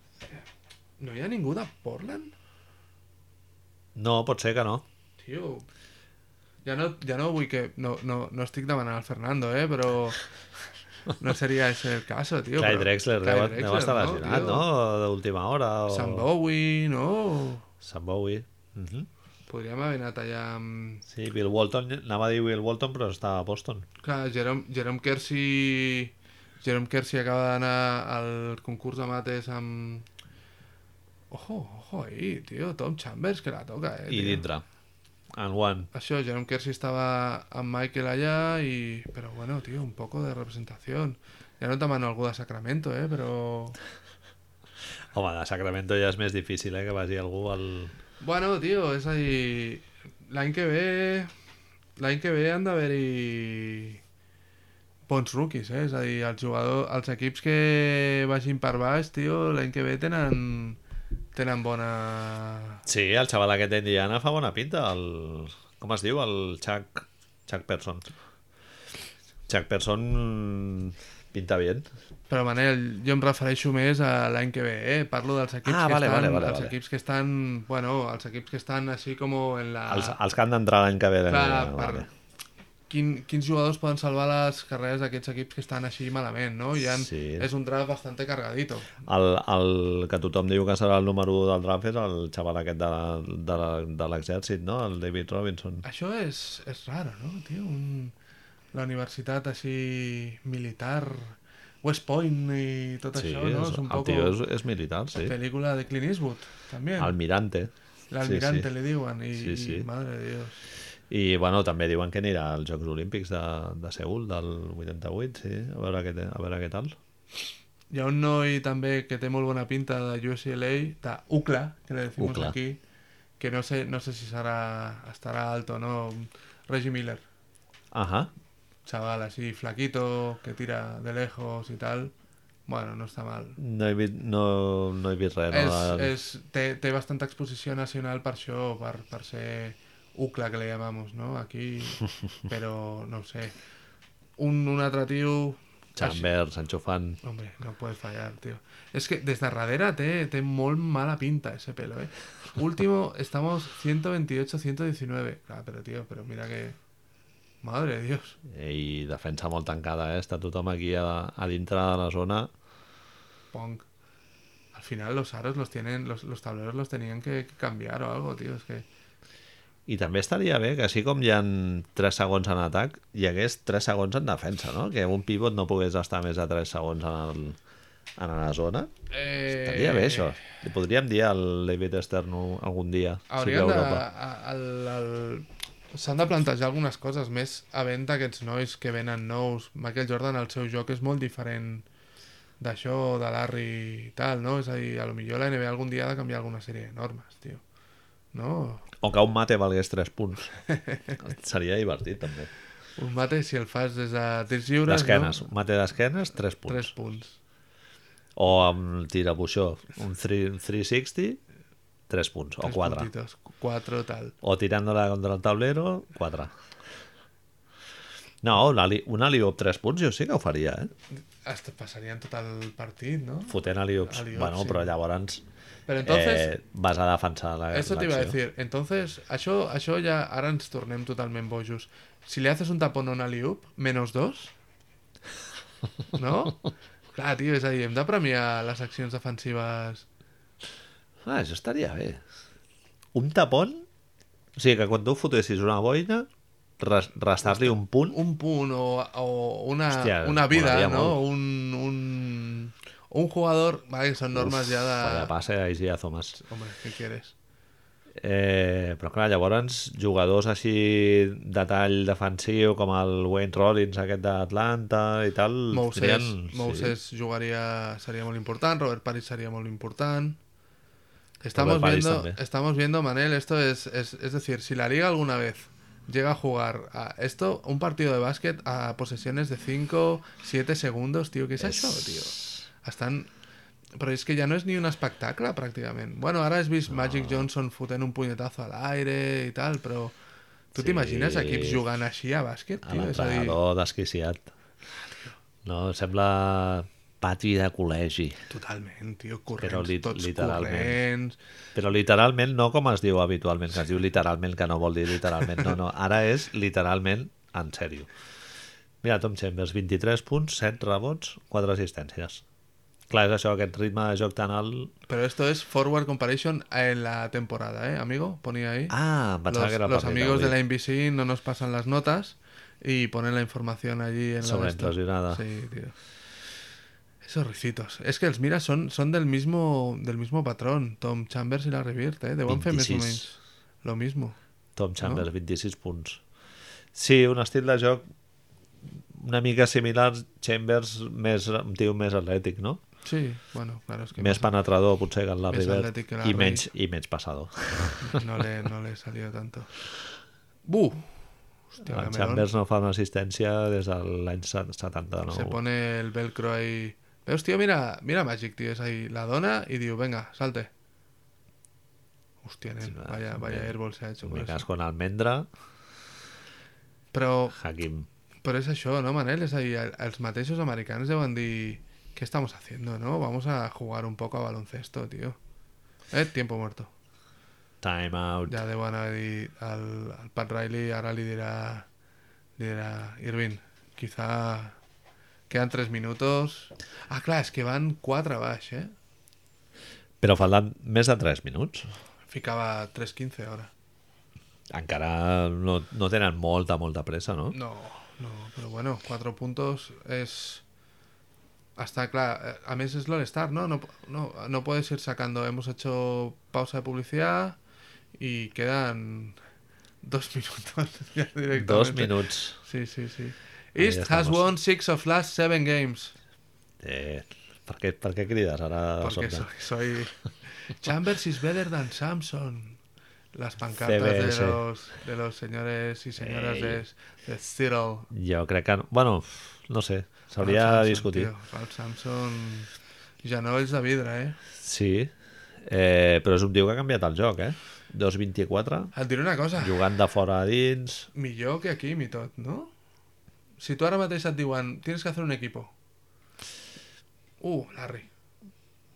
No hi ha ningú de Portland? No, pot ser que no. Tio... Ja no, ja no vull que... No, no, no estic demanant al Fernando, eh, però... No seria ese el caso, tio. Clyde però- Drexler, Clyde deu, deu Drexler, estar lesionat, tio? no? D'última hora. O... Sam Bowie, no? Sam Bowie. Mhm. Podríem haver anat allà amb... Sí, Bill Walton, anava a dir Bill Walton, però està a Boston. Clar, Jerome, Jerome Kersey... Jerome Kersey acaba d'anar al concurs de mates amb... Ojo, ojo ahí, tio, Tom Chambers, que la toca, eh, I tio. dintre. And one. Això, Jerome Kersey estava amb Michael allà i... Però bueno, tio, un poco de representació. Ja no et demano algú de Sacramento, eh, però... Home, de Sacramento ja és més difícil, eh? Que vagi algú al... Bueno, tio, és a dir... L'any que ve... L'any que ve han d'haver-hi bons rookies, eh? És a dir, els, jugadors, els equips que vagin per baix, tio, l'any que ve tenen, tenen bona... Sí, el xaval aquest d'Indiana fa bona pinta. El... Com es diu? El Chuck... Chuck Person. Chuck Person pinta bien. Però, Manel, jo em refereixo més a l'any que ve, eh? Parlo dels equips Ah, que vale, estan... vale, vale, els vale. equips que estan... Bueno, els equips que estan així com en la... Els, els que han d'entrar l'any que ve. Ah. Clar, Vale. per... Quin, quins jugadors poden salvar les carreres d'aquests equips que estan així malament, no? I han, Sí. És un draft bastante cargadito. El, el que tothom diu que serà el número 1 del draft és el xaval aquest de, de, de l'exèrcit, no? El David Robinson. Això és, és raro, no, tio? Un... La universitat així militar, West Point i tot Sí, això, no? és, És un el poco tio és, és militar, sí. pel·lícula de Clint Eastwood, també. Almirante. L'almirante sí, sí. li diuen i, Sí, sí. i madre de Dios. I, bueno, també diuen que anirà als Jocs Olímpics de, de Seul, del 88, sí. A veure què, te- a veure què tal. Hi ha un noi també que té molt bona pinta de UCLA, de UCLA, que le decimos UCLA. aquí, que no sé, no sé si serà, estarà alto o no, Reggie Miller, Ahà. chaval así flaquito, que tira de lejos y tal. Bueno, no está mal. No he vist, no, no he vist res. és, No, de- és, té, té bastanta exposició nacional per això, per, per ser UCLA, que le llamamos, no? Aquí, però no ho sé. Un, un altre tio... Chambers, enxufant... Hombre, no puedes fallar, tío. Es que desde Herradera te, te mol mala pinta ese pelo, ¿eh? Último, estamos 128, 119. Claro, Ah, pero tío, pero mira que... Madre de Dios. I defensa molt tancada, eh? Està tothom aquí a, a dintre de la zona. Punk. Al final los aros los tienen, los, los tableros los tenían que, que cambiar o algo, tío. Es que... I també estaria bé que així com hi han 3 segons en atac, hi hagués 3 segons en defensa, no? Que un pivot no pogués estar més de 3 segons en, el, en la zona. Eh... Estaria bé, això. Li podríem dir al David Stern algun dia. si ve a Haurien de... Europa. a- al- al- S'han de plantejar algunes coses més havent d'aquests nois que venen nous. Michael Jordan, el seu joc és molt diferent d'això, de Larry i tal, no? És a dir, a lo millor la NBA algun dia ha de canviar alguna sèrie de normes, tio. No? O que un mate valgués 3 punts. Seria divertit, també. Un mate, si el fas des de tirs lliures... D'esquenes. No? Un mate d'esquenes, 3 punts. Tres punts. O amb tirabuixó, un 3, 360, 3 punts. O Tres 4. puntitos. Quatre, tal. O tirándola contra el tablero, 4. No, un, ali, un aliop 3 punts jo sí que ho faria, eh? Hasta passarien tot el partit, no? Fotent aliops. Alley-oops, bueno, sí. però llavors Però entonces... eh, vas a defensar la Eso te iba a l'acció. decir. Entonces, això, això ja ara ens tornem totalment bojos. Si le haces un tapón a un alley-oop, menos dos, no? Clar, tio, és a dir, hem de premiar les accions defensives. Ah, això estaria bé. Un tapón? O sigui, que quan tu fotessis una boina, res, restar-li un punt... Un punt o, o una, Hòstia, una vida, molaria no? molt. Un, un, un jugador... Vale, que són normes Uf, ja Vaya de... pase a Isaiah Thomas. Hombre, què quieres? Eh, però clar, llavors jugadors així de tall defensiu com el Wayne Rollins aquest d'Atlanta i tal Moses, tenien- Moses jugaría, sería muy importante, Robert Paris sería muy importante. Estamos Robert Parrish viendo, también. estamos viendo, Manel, esto es, es, es decir, si la liga alguna vez llega a jugar a esto, un partido de básquet a posesiones de 5, 7 segundos, tío, ¿qué es És- eso, tío? Estan... Però és que ja no és ni un espectacle, pràcticament. Bueno, ara has vist Magic Johnson fotent un punyetazo a l'aire i tal, però... Tu Sí. t'imagines equips jugant així a bàsquet, a tio? És a dir, l'entrenador desquiciat no, sembla pati de col·legi totalment, tio, corrents, Però li- tots literalment. corrents... però literalment no com es diu habitualment que es diu literalment que no vol dir literalment no, no, ara és literalment en sèrio mira Tom Chambers 23 punts, 7 rebots 4 assistències clar, és això, aquest ritme de joc tan alt Pero esto es forward comparison en la temporada, ¿eh, amigo? Ponía ahí. Ah, em pensava los que era los partit amigos avui. de la NBC no nos pasan las notas y ponen la información allí en la... de esto. Sobreinflacionada. Sí, tío. Esos ricitos. Es que los mira son, son del mismo del mismo patrón. Tom Chambers y la Revirt, ¿eh? De One 26. Lo mismo. Tom Chambers, 26 punts. Sí, un estil de joc una mica similar, Chambers més, un tio més atlètic, no? Sí, bueno, claro, es que Més penetrador potser que el Més Larry Bird atlètic que i Larry. menys, i menys passador. no le, no le salió tanto. ¡Buh! Hostia, el Cameron. Chambers no fa una assistència des de l'any se- 79. Se pone el velcro ahí. Veus, tío, mira, mira Magic, tío, es ahí. La dona y digo, venga, salte. Hostia, nen, Sí, va, vaya, vaya bien. airball se ha hecho. pues. por Me eso. cas con Almendra, Pero, Hakim. pero es eso, ¿no, Manel? Es ahí, a- els mateixos americanos deban dir, ¿qué estamos haciendo, no? Vamos a jugar un poco a baloncesto, tío. Eh, tiempo muerto. Time out. Ya deban a dir al, al Pat Riley, ahora le dirá, le dirá Irving, quizá quedan tres minutos. Ah, claro, es que van cuatro abajo, ¿eh? Però faltant més de 3 minuts. Ficaba 3.15 ahora. Encara no, no tenen molta, molta pressa, no? No, no, pero bueno, cuatro puntos es... Hasta, claro, a mí es Star, ¿no? No, no, no puedes ir sacando. Hemos hecho pausa de publicidad y quedan dos minutos ya directamente. Dos minuts. Sí, sí, sí. Ahí East has estamos. won six of last seven games. Eh, per, què, per què crides ara? de Porque sobte? soy, soy... Chambers is better than Samson. Las pancartas CBS. de los, de los señores y señoras de, de Cyril. Jo crec que... no- Bueno, f- no sé, s'hauria Ralph de Sampson, discutir. Ah, tio. Ralph Sampson... Genolls de vidre, eh? Sí, eh, però és un tio que ha canviat el joc, eh? 2.24, Et diré una cosa. jugant de fora a dins... Millor que aquí i tot, no? Si tu ara mateix et diuen tienes que hacer un equipo. Uh, Larry.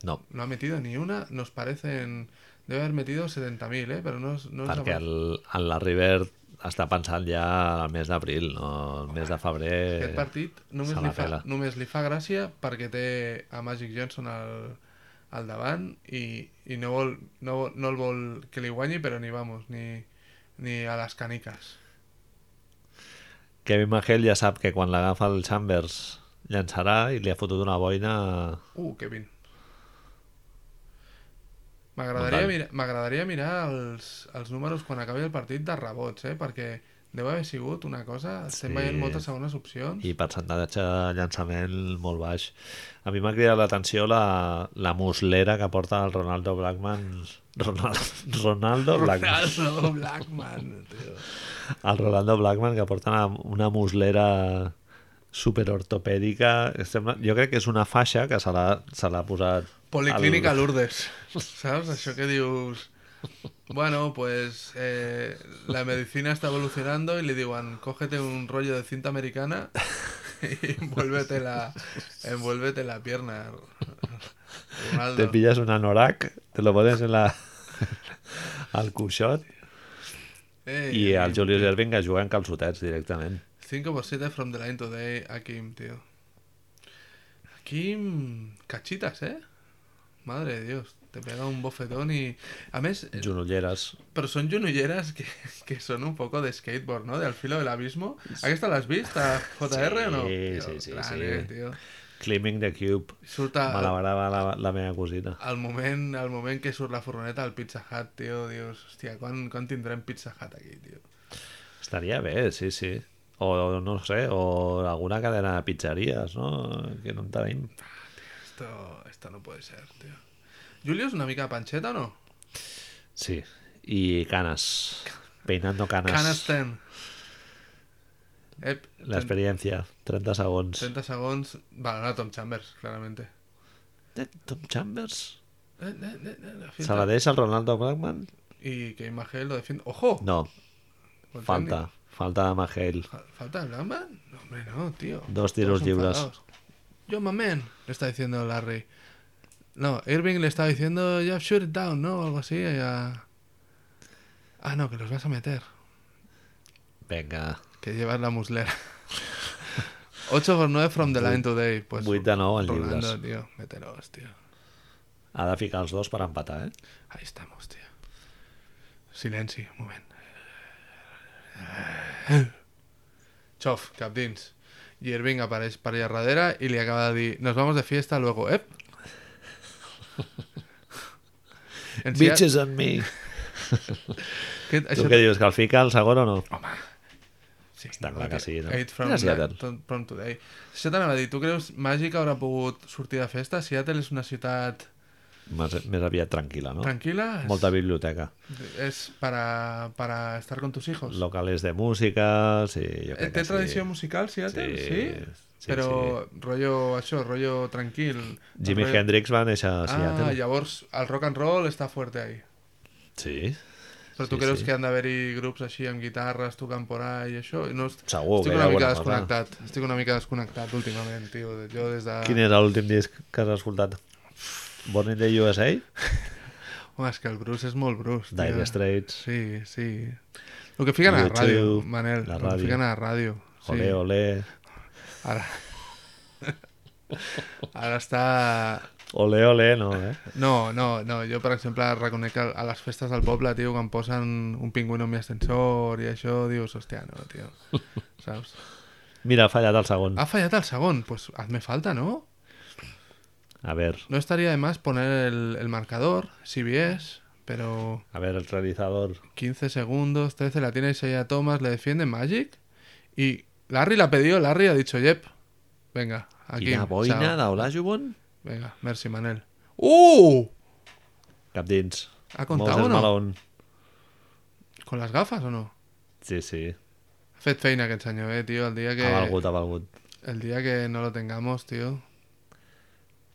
No, No ha metido ni una. Nos parecen... Debe haber metido 70.000, eh? Pero no, es- no es perquè el, el Larry Bird està pensant ja al mes d'abril, no al mes de febrer... Aquest partit només eh, se li, la fa, pela. només li fa gràcia perquè té a Magic Johnson al, al davant i, i no, vol, no, vol- no el vol que li guanyi, però ni vamos, ni, ni a les caniques. Kevin Mahel ja sap que quan l'agafa el Chambers llançarà i li ha fotut una boina... Uh, Kevin. M'agradaria Brutal. mirar, m'agradaria mirar els, els números quan acabi el partit de rebots, eh? perquè deu haver sigut una cosa... Estem Sí. veient moltes segones opcions. i percentatge de llançament molt baix. A mi m'ha cridat l'atenció la, la muslera que porta el Ronaldo Blackman. Ronald, Ronaldo Blackman. Ronaldo Blackman, tio. El Ronaldo Blackman que porta una, una muslera superortopèdica. Sembla, jo crec que és una faixa que se l'ha se l'ha posat... Policlínica al- Lourdes. ¿Sabes? Això que dius... Bueno, pues eh, la medicina está evolucionando y le digan, cógete un rollo de cinta americana y envuélvete la, envuélvete la pierna. Te Ronaldo. pilles un anorac, te lo pones en la, al cuixot Ei, i el Akim. Julius Erving que juga en calçotets directament. 5x7 from the line today, Akim, tío. Akim, cachitas, ¿eh? Madre de Dios, te pega un bofetón y... A més, Junolleres. Però són genolleres que, que són un poco de skateboard, no? Del filo del abismo. Aquesta l'has vist a JR o no? Sí, Tio, sí, sí, gran, sí. eh, tio. Climbing the Cube. Surt Me la a, va gravar la, la meva cosina. al moment, al moment que surt la furgoneta del Pizza Hut, tio, dius, hòstia, quan, quan tindrem Pizza Hut aquí, tio? Estaria bé, sí, sí. O, no sé, o alguna cadena de pizzeries, no? Que no en tenim. Esto, esto no puede ser, tío. ¿Julio es una mica pancheta o no? Sí. I canes. Peinando canes. Canastem. Ep, La 30, experiencia. 30 segons. 30 segons. Vale, no, Tom Chambers, claramente. Eh, Tom Chambers? Eh, eh, eh, eh, la ¿Se finta. la deixa el Ronaldo Blackman? Y que Magel lo defiende. ¡Ojo! No, Con falta. Falta de Magel. Tony. Fa- ¿Falta de Blackman? No, hombre, no, tío. Dos tiros Todos lliures. enfadados. Yo, my man, le está diciendo Larry. No, Irving le estaba diciendo, ya shoot it down, ¿no? O algo así. ya- Ah, no, que los vas a meter. Vinga. Que llevas la muslera. 8 por 9 from the line today. Pues, 8 de 9 en Rolando, lliures. tío. Mételos, tío. Ha de ficar els dos per empatar, eh? Ahí estamos, tío. Silenci, un moment. Chof, cap dins. I Irving apareix per allà darrere i li acaba de dir nos vamos de fiesta luego, eh? ep. Encia... Bitches and me. Què, Tu això... què dius, que el fica el segon o no? Home. Sí, Està clar que sí, no? Eight from, Mira Seattle. Seattle. from today. Això t'anava a dir, tu creus Màgic haurà pogut sortir de festa? Seattle és una ciutat Més, més aviat tranquil·la, no? tranquil·la? És, Molta biblioteca. és para, para estar con tus hijos? Locales de música, sí, jo Eh, crec Té que tradició sí. musical, Seattle? Sí, Sí? sí, Però rotllo això, rotllo tranquil. Jimi rotllo... Hendrix va néixer a Ah, Seattle. llavors el rock and roll està fuerte ahí. Sí, Però tu Sí, creus sí. que han d'haver-hi grups així amb guitarres tocant por ahí i això? No, est- Segur que hi estic ha una mica alguna cosa. desconnectat. Estic una mica desconnectat últimament, tio. Jo des de... Quin és l'últim disc que has escoltat? Born in the USA? Home, és que el Bruce és molt Bruce, tio. Dire Straits? Sí, sí. El que fiquen a la YouTube, ràdio, Manel. la El ràdio. que fiquen a la ràdio. Sí. Olé, olé. Ara... Ara està... Olé, olé, no, eh? No, no, no. Jo, per exemple, reconec que a les festes del poble, tio, quan posen un pingüino amb mi ascensor i això, dius, hòstia, no, tio. Saps? Mira, ha fallat el segon. Ha fallat el segon. Pues hazme falta, ¿no? A veure, No estaría de más poner el, el marcador, CBS, pero a veure, el realizador. 15 segundos, 13, la tiene Isaiah Thomas, le defiende Magic y Larry la ha pedido, Larry ha dicho, yep, venga, aquí. Quina boina chao. d'Olajubon? Venga, merci, Manel. ¡Uh! Cap dins. ¿Ha contado o Moses no? Malone. ¿Con las gafas o no? Sí, sí. Fed feina que enseñó, eh, tío, el día que... Ha valgut, ha valgut. El día que no lo tengamos, tío.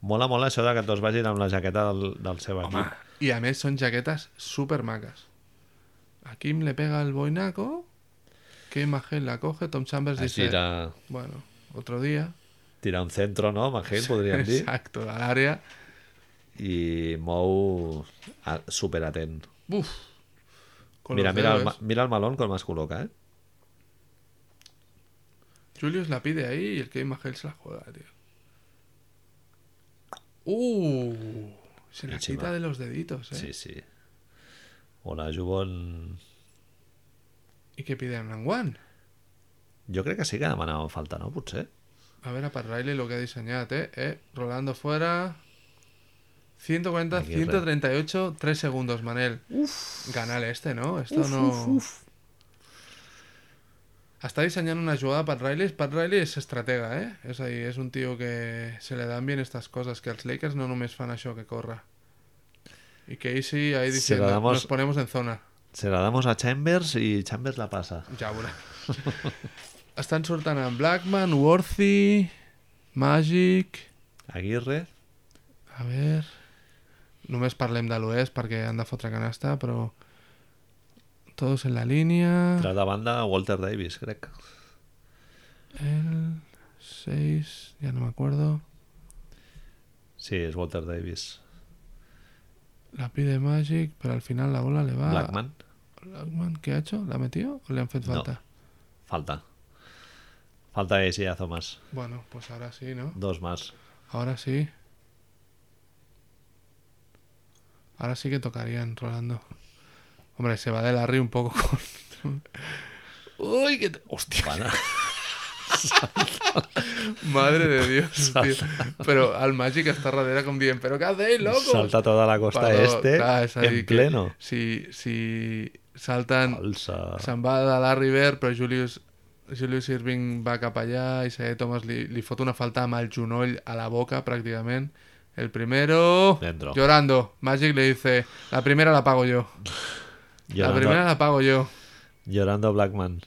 Mola, mola això de que tots vagin amb la jaqueta del, del seu equip. Y a mí son chaquetas súper macas. A Kim le pega el boinaco. ¿Qué imagen la coge? Tom Chambers Així dice... de Bueno, otro día. tirar un centro, no? Magel, podríem dir. Exacto, al área. I mou a- superatent. Uf. Con Mira, los mira el, dedos. ma- mira el Malone com es col·loca, eh? Julius la pide ahí y el que Magel se la juega, tío. Uh, se la Encima. quita de los deditos, eh. Sí, sí. Hola, Jubon... ¿Y qué pide a Nanguan? Jo crec que sí que demanava falta, no? Potser. A ver a Pat Riley lo que ha diseñado, eh. eh. Rolando fuera. 140, Aguirre. 138, 3 segundos, Manel. Ganar este, ¿no? Esto no. Està dissenyant una jugada per Riley. Per Riley és estratega, eh? És a dir, és un tio que se li dan bien estas coses, que els Lakers no només fan això que corre. I Casey ahí Se diciendo, la damos- nos ponemos en zona. Se la damos a Chambers i Chambers la passa. Ja ho veurem. Estan sortant amb Blackman, Worthy, Magic... Aguirre, A ver... Només parlem de l'oest perquè han de fotre canasta, però... Todos en la línia... tras de banda Walter Davis, crec. El 6... Ja no m'acuerdo... Sí, és Walter Davis. La pide Magic, pero al final la bola le va. Blackman, Blackman, ¿qué ha hecho? ¿La ha metido o le han hecho No. falta? falta. Falta ese a Thomas. Bueno, pues ahora sí, ¿no? Dos más. Ahora sí. Ahora sí que tocarían, Rolando. Hombre, se va de Larry un poco con. ¡Uy! Que te- ¡Hostia! Bueno, Madre de Dios, tío. Pero al Magic està darrere com dient, però què hacéis, loco? Salta toda la costa este en pleno. Si, si salten... Alça. Se'n va de la River, però Julius, Julius Irving va cap allà i Isaiah Thomas li, li fot una falta amb el genoll a la boca, pràcticament. El primero... Dentro. Llorando. Magic le dice, la primera la pago yo. La Llorando, primera la pago yo. llorando Blackman.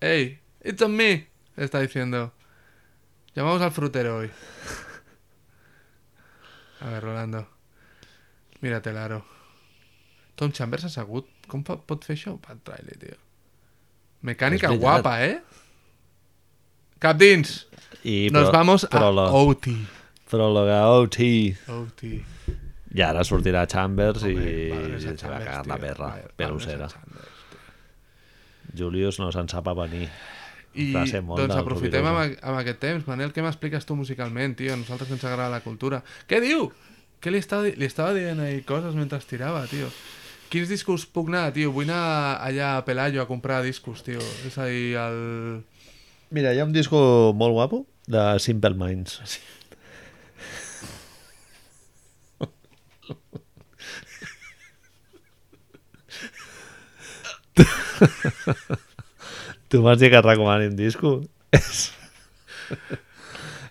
Hey, it's on me, le está diciendo. Llamamos al frutero hoy. A ver, Rolando. Mírate l'aro. Tom Chambers ha segut. Com fa, pot fer això? Pat Riley, tio. És Mecànica veritat. guapa, eh? Cap dins! I Nos pro- vamos a prolo- OT. Pròloga OT. OT. I ara sortirà Chambers i Madre mía, se va Chambers, cagar la tio. perra. Madre- Pelusera. madre Chambers. Julius no se'n sap a venir. I Va ser molt doncs del aprofitem Rubirosa. amb, amb aquest temps. Manel, què m'expliques tu musicalment, tio? A nosaltres que ens agrada la cultura. Què diu? Què li estava, di- li estava dient ahir coses mentre estirava, tio? Quins discos puc anar, tio? Vull anar allà a Pelayo a comprar discos, tio. És a dir, el... Mira, hi ha un disco molt guapo de Simple Minds. tu m'has dit que et recomani un disco? És,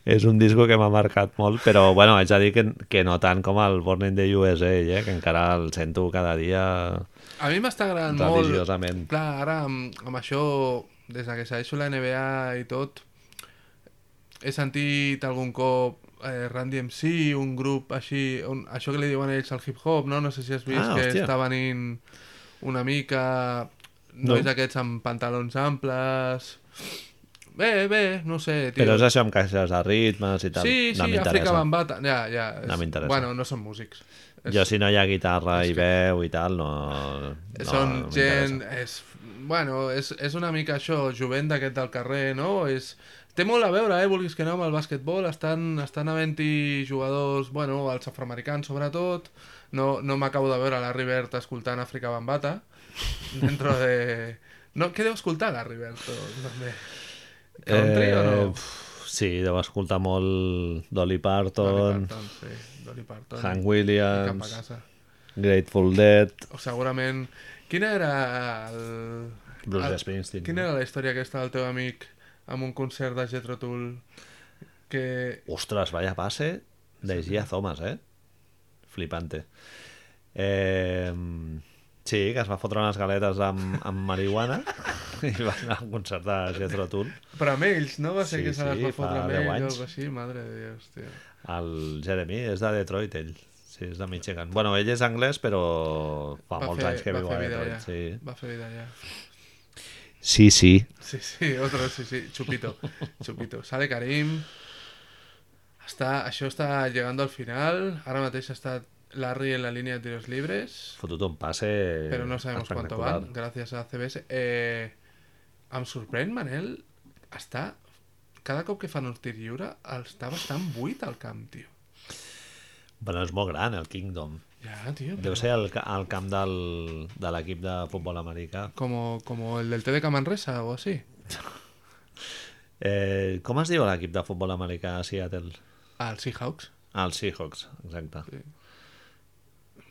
és un disco que m'ha marcat molt, però bueno, haig de dir que, que no tant com el Born in the USA, eh? que encara el sento cada dia... A mi m'està agradant Religiosament. molt... Clar, ara amb, amb això, des que s'ha deixat la NBA i tot, he sentit algun cop eh, Randy MC, un grup així, un, això que li diuen ells al hip-hop, no? No sé si has vist Ah, que hòstia. està venint una mica nois no. aquests amb pantalons amples... Bé, bé, no sé, tio. Però és això amb caixes de ritmes i tal. Sí, sí, no Àfrica m'interessa. Bambata... Ja, ja. És... No m'interessa. Bueno, no són músics. És- Jo si no hi ha guitarra i veu i tal, no... no Eh, Són no gent... m'interessa. És, bueno, és, és una mica això, jovent d'aquest del carrer, no? És, té molt a veure, eh, vulguis que no, amb el bàsquetbol. Estan, estan havent-hi jugadors, bueno, els afroamericans sobretot. No, no m'acabo de veure la Rivert escoltant Àfrica Bambata. Dentro de... No, què deu escoltar la Rivert? doncs, també? Country o no? pf, Eh, Sí, deu escoltar molt Dolly Parton, Dolly Parton, sí. Dolly Parton. Hank Cap a Williams, casa. Grateful Dead, O segurament... Quina era el... Bruce el- Springsteen. Ah, Quina era la història aquesta del teu amic amb un concert de Jethro Tull que... Ostres, vaya base de Gia Thomas, eh? Flipante. Eh, sí, que es va fotre unes galetes amb, amb marihuana i va anar al concert de Jethro Tull. Però amb ells, no? Va ser Sí, que se les sí, va fa fotre amb deu ells o anys. alguna així, madre de Dios, tio. El Jeremy és de Detroit, ell. Sí, és de Michigan. Bueno, ell és anglès, però fa molts anys que va viu fer a vida Detroit. allà. Sí. Va fer vida allà. sí, sí. Sí, sí, otro, sí, sí, Chupito, Chupito. Sale Karim, està, això està llegando al final, ara mateix està Larry en la línia de tiros libres, Fotut un passe Pero no sabemos cuánto espectacular. van, gracias a CBS. Eh, em sorprèn, Manel, està... Cada cop que fan un tir lliure, està bastant buit al camp, tio. Bueno, és molt gran, el Kingdom. Ja, tio. Deu ser el, ca- el camp del, de l'equip de futbol americà. Como, como el del TDK Manresa o así. Eh, com es diu l'equip de futbol americà a Seattle? Ah, el Seahawks. Ah, els Seahawks, exacte.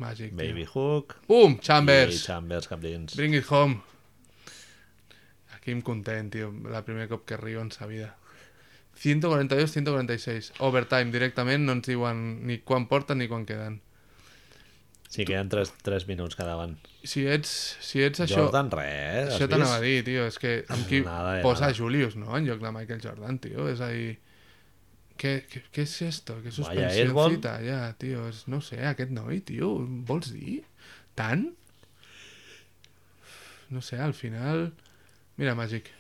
Magic, tio. Baby Hook Pum! i Chambers! Chambers cap dins. Bring it home. Aquí em content, tio. La primer cop que rio en sa vida. 142-146. Overtime, directament. No ens diuen ni quan porten ni quan queden. Sí, queden 3, 3 minuts que davant. Si ets, si ets això... Jordan, res. Això has t'anava a vist? dir, tio, és que amb qui Nada de posa nada. Julius, no?, en lloc de Michael Jordan, tio, és a dir... Què, què, què és esto? Què Vaya suspensioncita ja, tio? És, no sé, aquest noi, tio, vols dir? Tant? No sé, al final... Mira, Magic.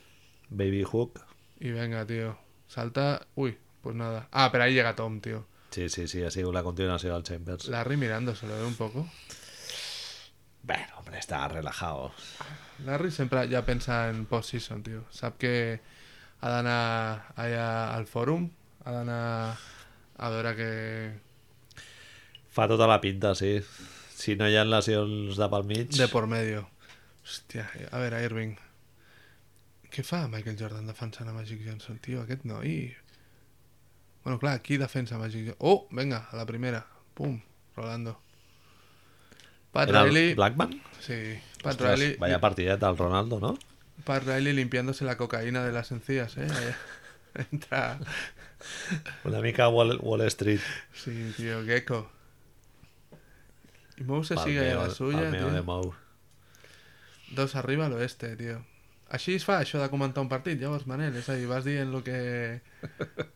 Baby Hook. I venga, tio. Salta... Ui, pues nada. Ah, però ahí llega Tom, tio. Sí, sí, sí, ha sigut la continuació del Chambers. Larry mirándoselo ¿eh? un poco. Bueno, hombre, está relajado. Larry sempre ja pensa en post-season, tio. Sap que ha d'anar allà al fòrum, ha d'anar a veure que... Fa tota la pinta, sí. Si no hi ha lesions de pel mig... De por medio. Hòstia, a veure, Irving. Què fa Michael Jordan defensant a Magic Johnson, tio? Aquest noi... Bueno, clar, qui defensa Magic Johnson? Oh, venga, a la primera. Pum, Rolando. Pat ¿Era Riley... Blackman? Sí, Pat Ostras, Riley... Vaya partideta al Ronaldo, ¿no? Pat Riley limpiándose la cocaína de las encías, ¿eh? Entra... Una mica Wall, Wall Street. Sí, tío, Gecko. Y Mouse sigue Palmeo- a la suya, palmeo de tio. Mou. Dos arriba a l'oeste, tio. Així es fa això de comentar un partit, llavors, Manel. És a dir, vas dient lo que...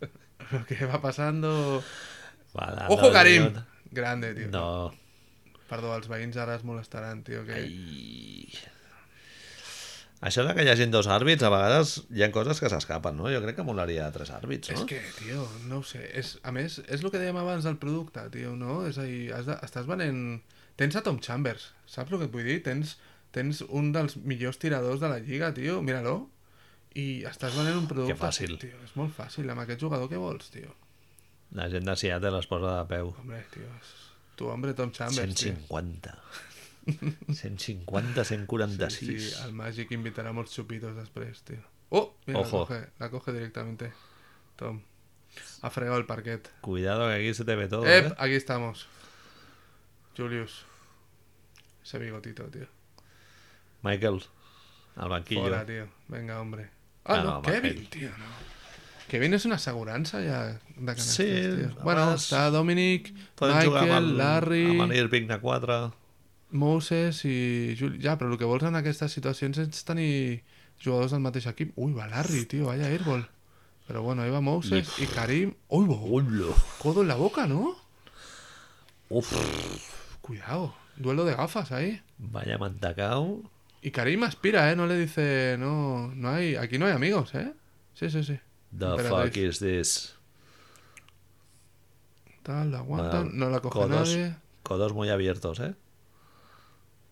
lo que va pasando... Va, la- Ojo, la- Karim! Grande, tio. No. Perdó, els veïns ara es molestaran, tio. Que... Ai. Això de que hi hagin dos àrbits, a vegades hi ha coses que s'escapen, no? Jo crec que molaria tres àrbits, És no? que, tio, no ho sé. És, a més, és el que dèiem abans del producte, tio, no? És a dir, has de, estàs venent... Tens a Tom Chambers, saps el que et vull dir? Tens, tens un dels millors tiradors de la lliga, tio, mira-lo. I estàs venent un producte... fàcil. Tio, és molt fàcil, amb aquest jugador què vols, tio? La gent de Seattle les posa de peu. Hombre, tio, és- tu, hombre, Tom Chambers, tio. 150. 150, 146. Sí, al Magic invitará muchos chupitos después, tío. ¡Oh! Mira, Ojo. La, coge, la coge directamente. Tom. Ha fregado el parquet. Cuidado que aquí se te ve todo, ¡Ep! eh? Aquí estamos. Julius. Ese bigotito, tío. Michael, al banquillo. Fuera, tío. Venga, hombre. ¡Ah, Ah, no! no, ¡Kevin, Markel. tío! No. Kevin es una aseguranza ya de canastas, Sí, tío. además- Bueno, está Dominic, Poden jugar amb Michael, el, Larry... amb el Irving de 4. Moses i Juli... Ja, però el que vols en aquestes situacions és tenir jugadors del mateix equip. Ui, va Larry, tio, vaya airball. Però bueno, ahí va Moses i Karim... Ui, bo, Ullo. codo en la boca, ¿no? Uf, Cuidado, duelo de gafas ahí. vaya mantacao. Y Karim aspira, ¿eh? No le dice... No, no hay... Aquí no hay amigos, ¿eh? Sí, sí, sí. The Emperador. fuck is this? Tal, la aguantan, Bueno, no la coge codos. nadie. Codos muy abiertos, ¿eh?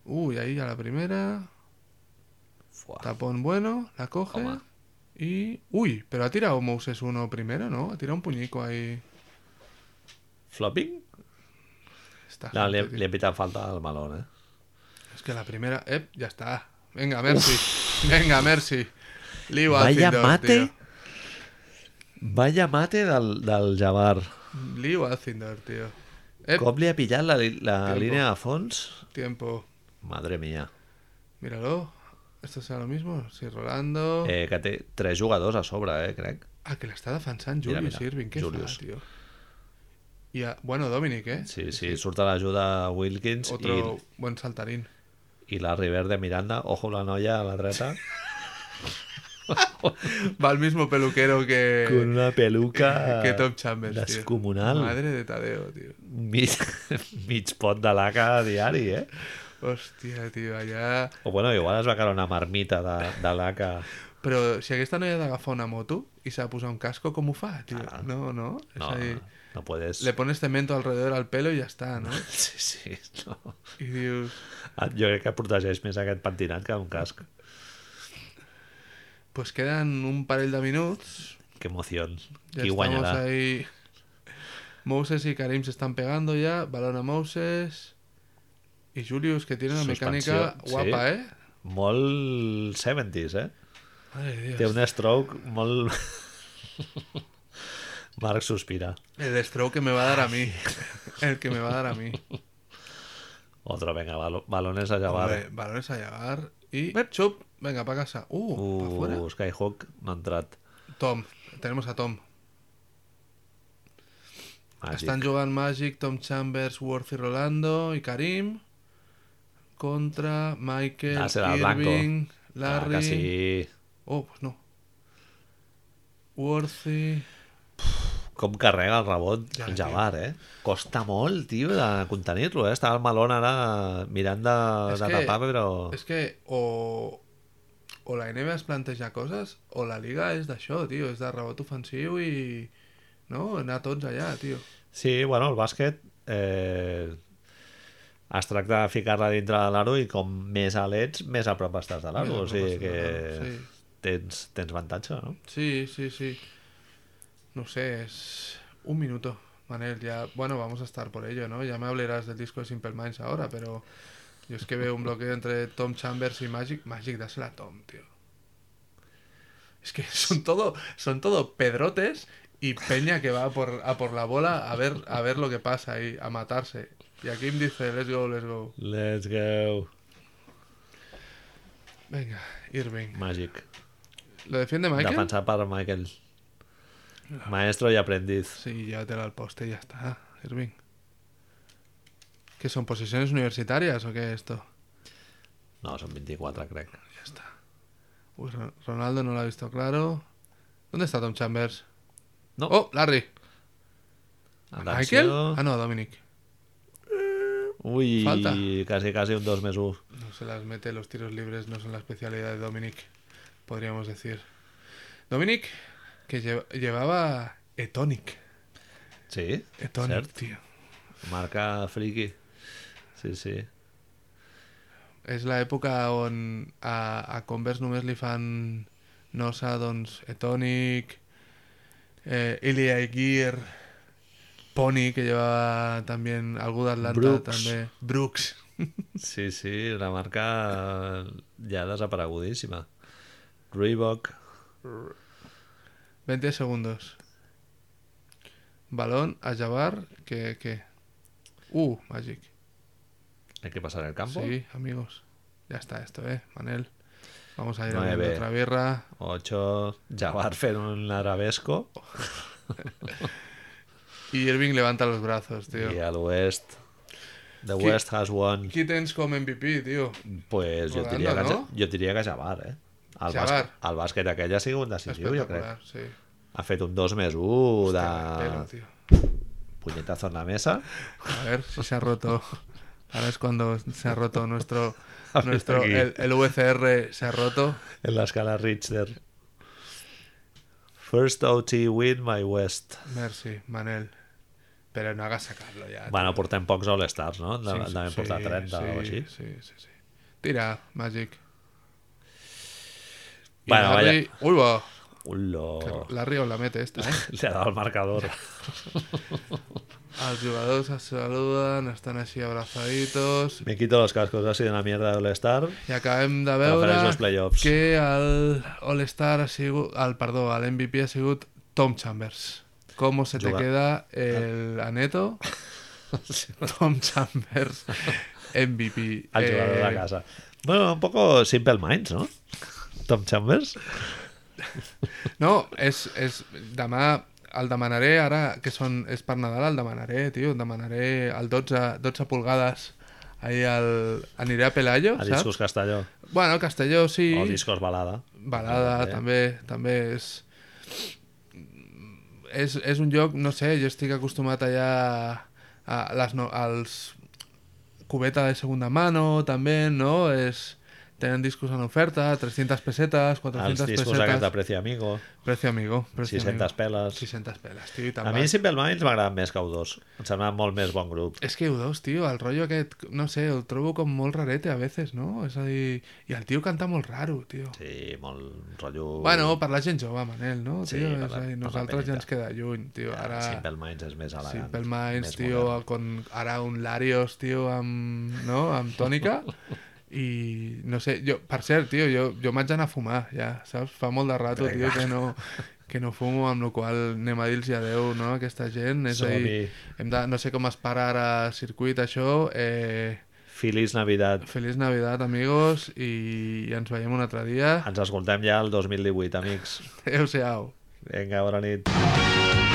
Uy, ahí a la primera. Fuá. Tapón bueno, la coge. Toma. Y... Uy, pero ha tirado Moses uno primero, ¿no? Ha tirado un puñico ahí. ¿Flopping? Está No, gente, le, tío. le pitan falta al malón, ¿eh? Es que la primera. ¡Ep! Ya está. Venga, Mercy. Venga, Mercy. Liu Vaya Alcindor, mate. tío. Vaya mate del, del Jabbar. Liu Alcindor, tío. Ep, Com li ha pillat la, li- la Tiempo. línia de fons? tiempo. Madre mía. Míralo. ¿Esto será lo mismo? Sí, Rolando. Eh, que té tres jugadors a sobre, eh, crec. Ah, que la está defensando Mira, Julius mira, Irving. ¿Qué fa, Julius. tío? Y a- bueno, Dominic, ¿eh? Sí, sí, surt a l'ajuda Wilkins Otro buen saltarín. i, i la River de Miranda. Ojo la noia a la dreta. Va el mismo peluquero que. Con una peluca que Tom Chambers. tío. descomunal. Madre de Tadeo, tío. Mig, mig pot de laca diari, eh? Hostia, tío, allá. O bueno, igual es va quedar una marmita de, de laca. Però si aquesta noia ha d'agafar una moto i s'ha de posar un casco, com ho fa, tio? Ah. no, no? És No, a dir, no, no puedes... le pones cemento alrededor al pelo i ja està, no? Sí, sí, no. Ah, I dius, Jo crec que protegeix més aquest pentinat que un casc. pues queden un parell de minuts, Que emoció. ja Qui estamos guanyarà? ahí... Moses y Karim se están pegando ya, balón a Moses... Y Julius, que tiene una mecànica Suspensió, sí. guapa, eh? Molt 70s, eh? Madre de Dios. Té un stroke molt... Marc sospira. El stroke que me va a dar a mí. El que me va a dar a mí. Otro, venga, balo- balones a Hombre, llevar. balones a llevar y... Chup, venga, para casa. Uh, pa' fuera. Uh, Skyhawk no ha entrat. Tom, tenemos a Tom. Màgic. Estan jugant Magic, Tom Chambers, Worth i Rolando i Karim contra Michael, Ah, serà Blanco. Irving, Ah, Larry... que sí. Oh, pues no. Worthy... Com carrega el rebot Ja, el tio. Jabbar, eh? Costa molt, tio, de contenir-lo, eh? Estava el Malone ara mirant de, És de que- tapar, però... És que o... O la NBA es planteja coses, o la Liga és d'això, tio. És de rebot ofensiu i... No? Anar tots allà, tio. Sí, bueno, el bàsquet eh, es tracta de ficar-la dintre de l'aro i com més alt ets, més a prop estàs de l'aro, Mira, o sigui no passa que nada, sí. tens, tens avantatge, no? Sí, sí, sí. No sé, es un minuto. Manel, ya, bueno, vamos a estar por ello, ¿no? Ya me hablarás del disco de Simple Minds ahora, pero yo es que veo un bloqueo entre Tom Chambers y Magic. Magic, dásela a Tom, tío. Es que son todo, son todo pedrotes y peña que va a por, a por la bola a ver, a ver lo que pasa y a matarse. Y aquí me dice, let's go, let's go. Let's go. Venga, Irving. Magic. ¿Lo defiende Michael? Defensar per Michael. Maestro y aprendiz. Sí, llévatela al poste y ya está, Irving. ¿Que son posesiones universitarias o qué es esto? No, son 24, crec. Ya está. Uy, Ro- Ronaldo no lo ha visto claro. ¿Dónde está Tom Chambers? No. Oh, Larry. ¿Michael? Atenció. Ah, no, Dominic. Ui, Falta. casi, casi un 2 més 1. No se las mete, los tiros libres no son la especialidad de Dominic, podríamos decir. Dominic, que lle- llevaba Etonic. Sí, Etonic, Cert. tío. marca friki. Sí, sí. És l'època on a, a Converse només li fan Nosa, doncs, Etonic, eh, Ilya Gear, Pony, que llevava també algú d'Atlanta, Brooks. també. Brooks. Sí, sí, la marca ja desaparegudíssima. Reebok, 20 segundos. Balón a Jabbar, que... que... Uh, Magic. hay que pasar el campo. Sí, amigos. Ya está esto, ¿eh? Manel. Vamos a ir a Nueve. beber otra birra. 8, Jabbar fent un arabesco Y Irving levanta los brazos, tío. i a l'oest. The Qui- West has won. Kittens como MVP, tío. Pues jo diria, que, Holanda, no? jo diria que Jabbar, eh? El, bàs- Jabbar. el bàsquet aquell ha sigut decisiu, jo crec. Espectacular, sí. Ha fet un 2 més 1 de Pelo, tío. puñetazo en la mesa. A ver si se ha roto. Ahora es cuando se ha roto nuestro... A ver, nuestro aquí. el, el UCR se ha roto. En la escala Richter. First OT win my West. Ah, Merci, Manel. Pero no hagas sacarlo ya. Bueno, portem pocs All-Stars, no? De, sí, Devem portar 30 o alguna sí, així. sí, sí, sí. Tira, Magic. Y Bueno, Oh. Larry- Uy, va. Ullo. Larry os la mete esta, ¿eh? Le ha dado el marcador. Els jugadors es saludan, estan així abrazaditos... Me quito los cascos, ha sido una mierda de All-Star. I acabem de Prefereix els veure playoffs. que el All-Star ha sigut... El, perdó, el MVP ha sigut Tom Chambers. ¿Cómo se te Juga- queda el aneto? Tom Chambers, MVP. Al jugador Eh, de la casa. Bueno, un poco Simple Minds, ¿no? Tom Chambers. No, és, és... Demà el demanaré, ara que són, és per Nadal, el demanaré, tio. Demanaré el 12, 12 pulgades. Ahir el... aniré a Pelayo, A saps? Discos Castelló. Bueno, Castelló sí. O Discos Balada. Balada També. també, també és... És, és un lloc, no sé, jo estic acostumat allà a les no, als cubeta de segunda mano, també, no? És, tenen discos en oferta, 300 pessetes, Els 400 discos aquests de pessetes... Preci Amigo. Precio amigo, precio 600 amigo. peles. 600 peles, tio, i te'n A mi vas. Simple Minds m'agraden més que U2. Em sembla molt més bon grup. És que U2, tio, el rotllo aquest, no sé, el trobo com molt rarete a veces, no? És a dir, i el tio canta molt raro, tio. Sí, molt rotllo... Bueno, per la gent jove, Manel, no? Sí, tio, per la- és a per dir, la nosaltres ja penita. ens queda lluny, tio. Ara, Simple Minds és més elegant. Simple Minds, més tio, modern. con, ara un Larios, tio, amb, no? amb tònica. I no sé, jo, per cert, tio, jo, jo m'haig d'anar a fumar, ja, saps? Fa molt de rato, tio, Vinga. que no, que no fumo, amb la qual cosa anem a dir-los adeu, no?, a aquesta gent. És a dir, Som-hi. hem de, no sé com es para ara circuit, això. Eh, Feliç Navidad. Feliç Navidad, amigos, i, i ens veiem un altre dia. Ens escoltem ja el 2018, amics. Adéu-siau. Vinga, bona nit. Thank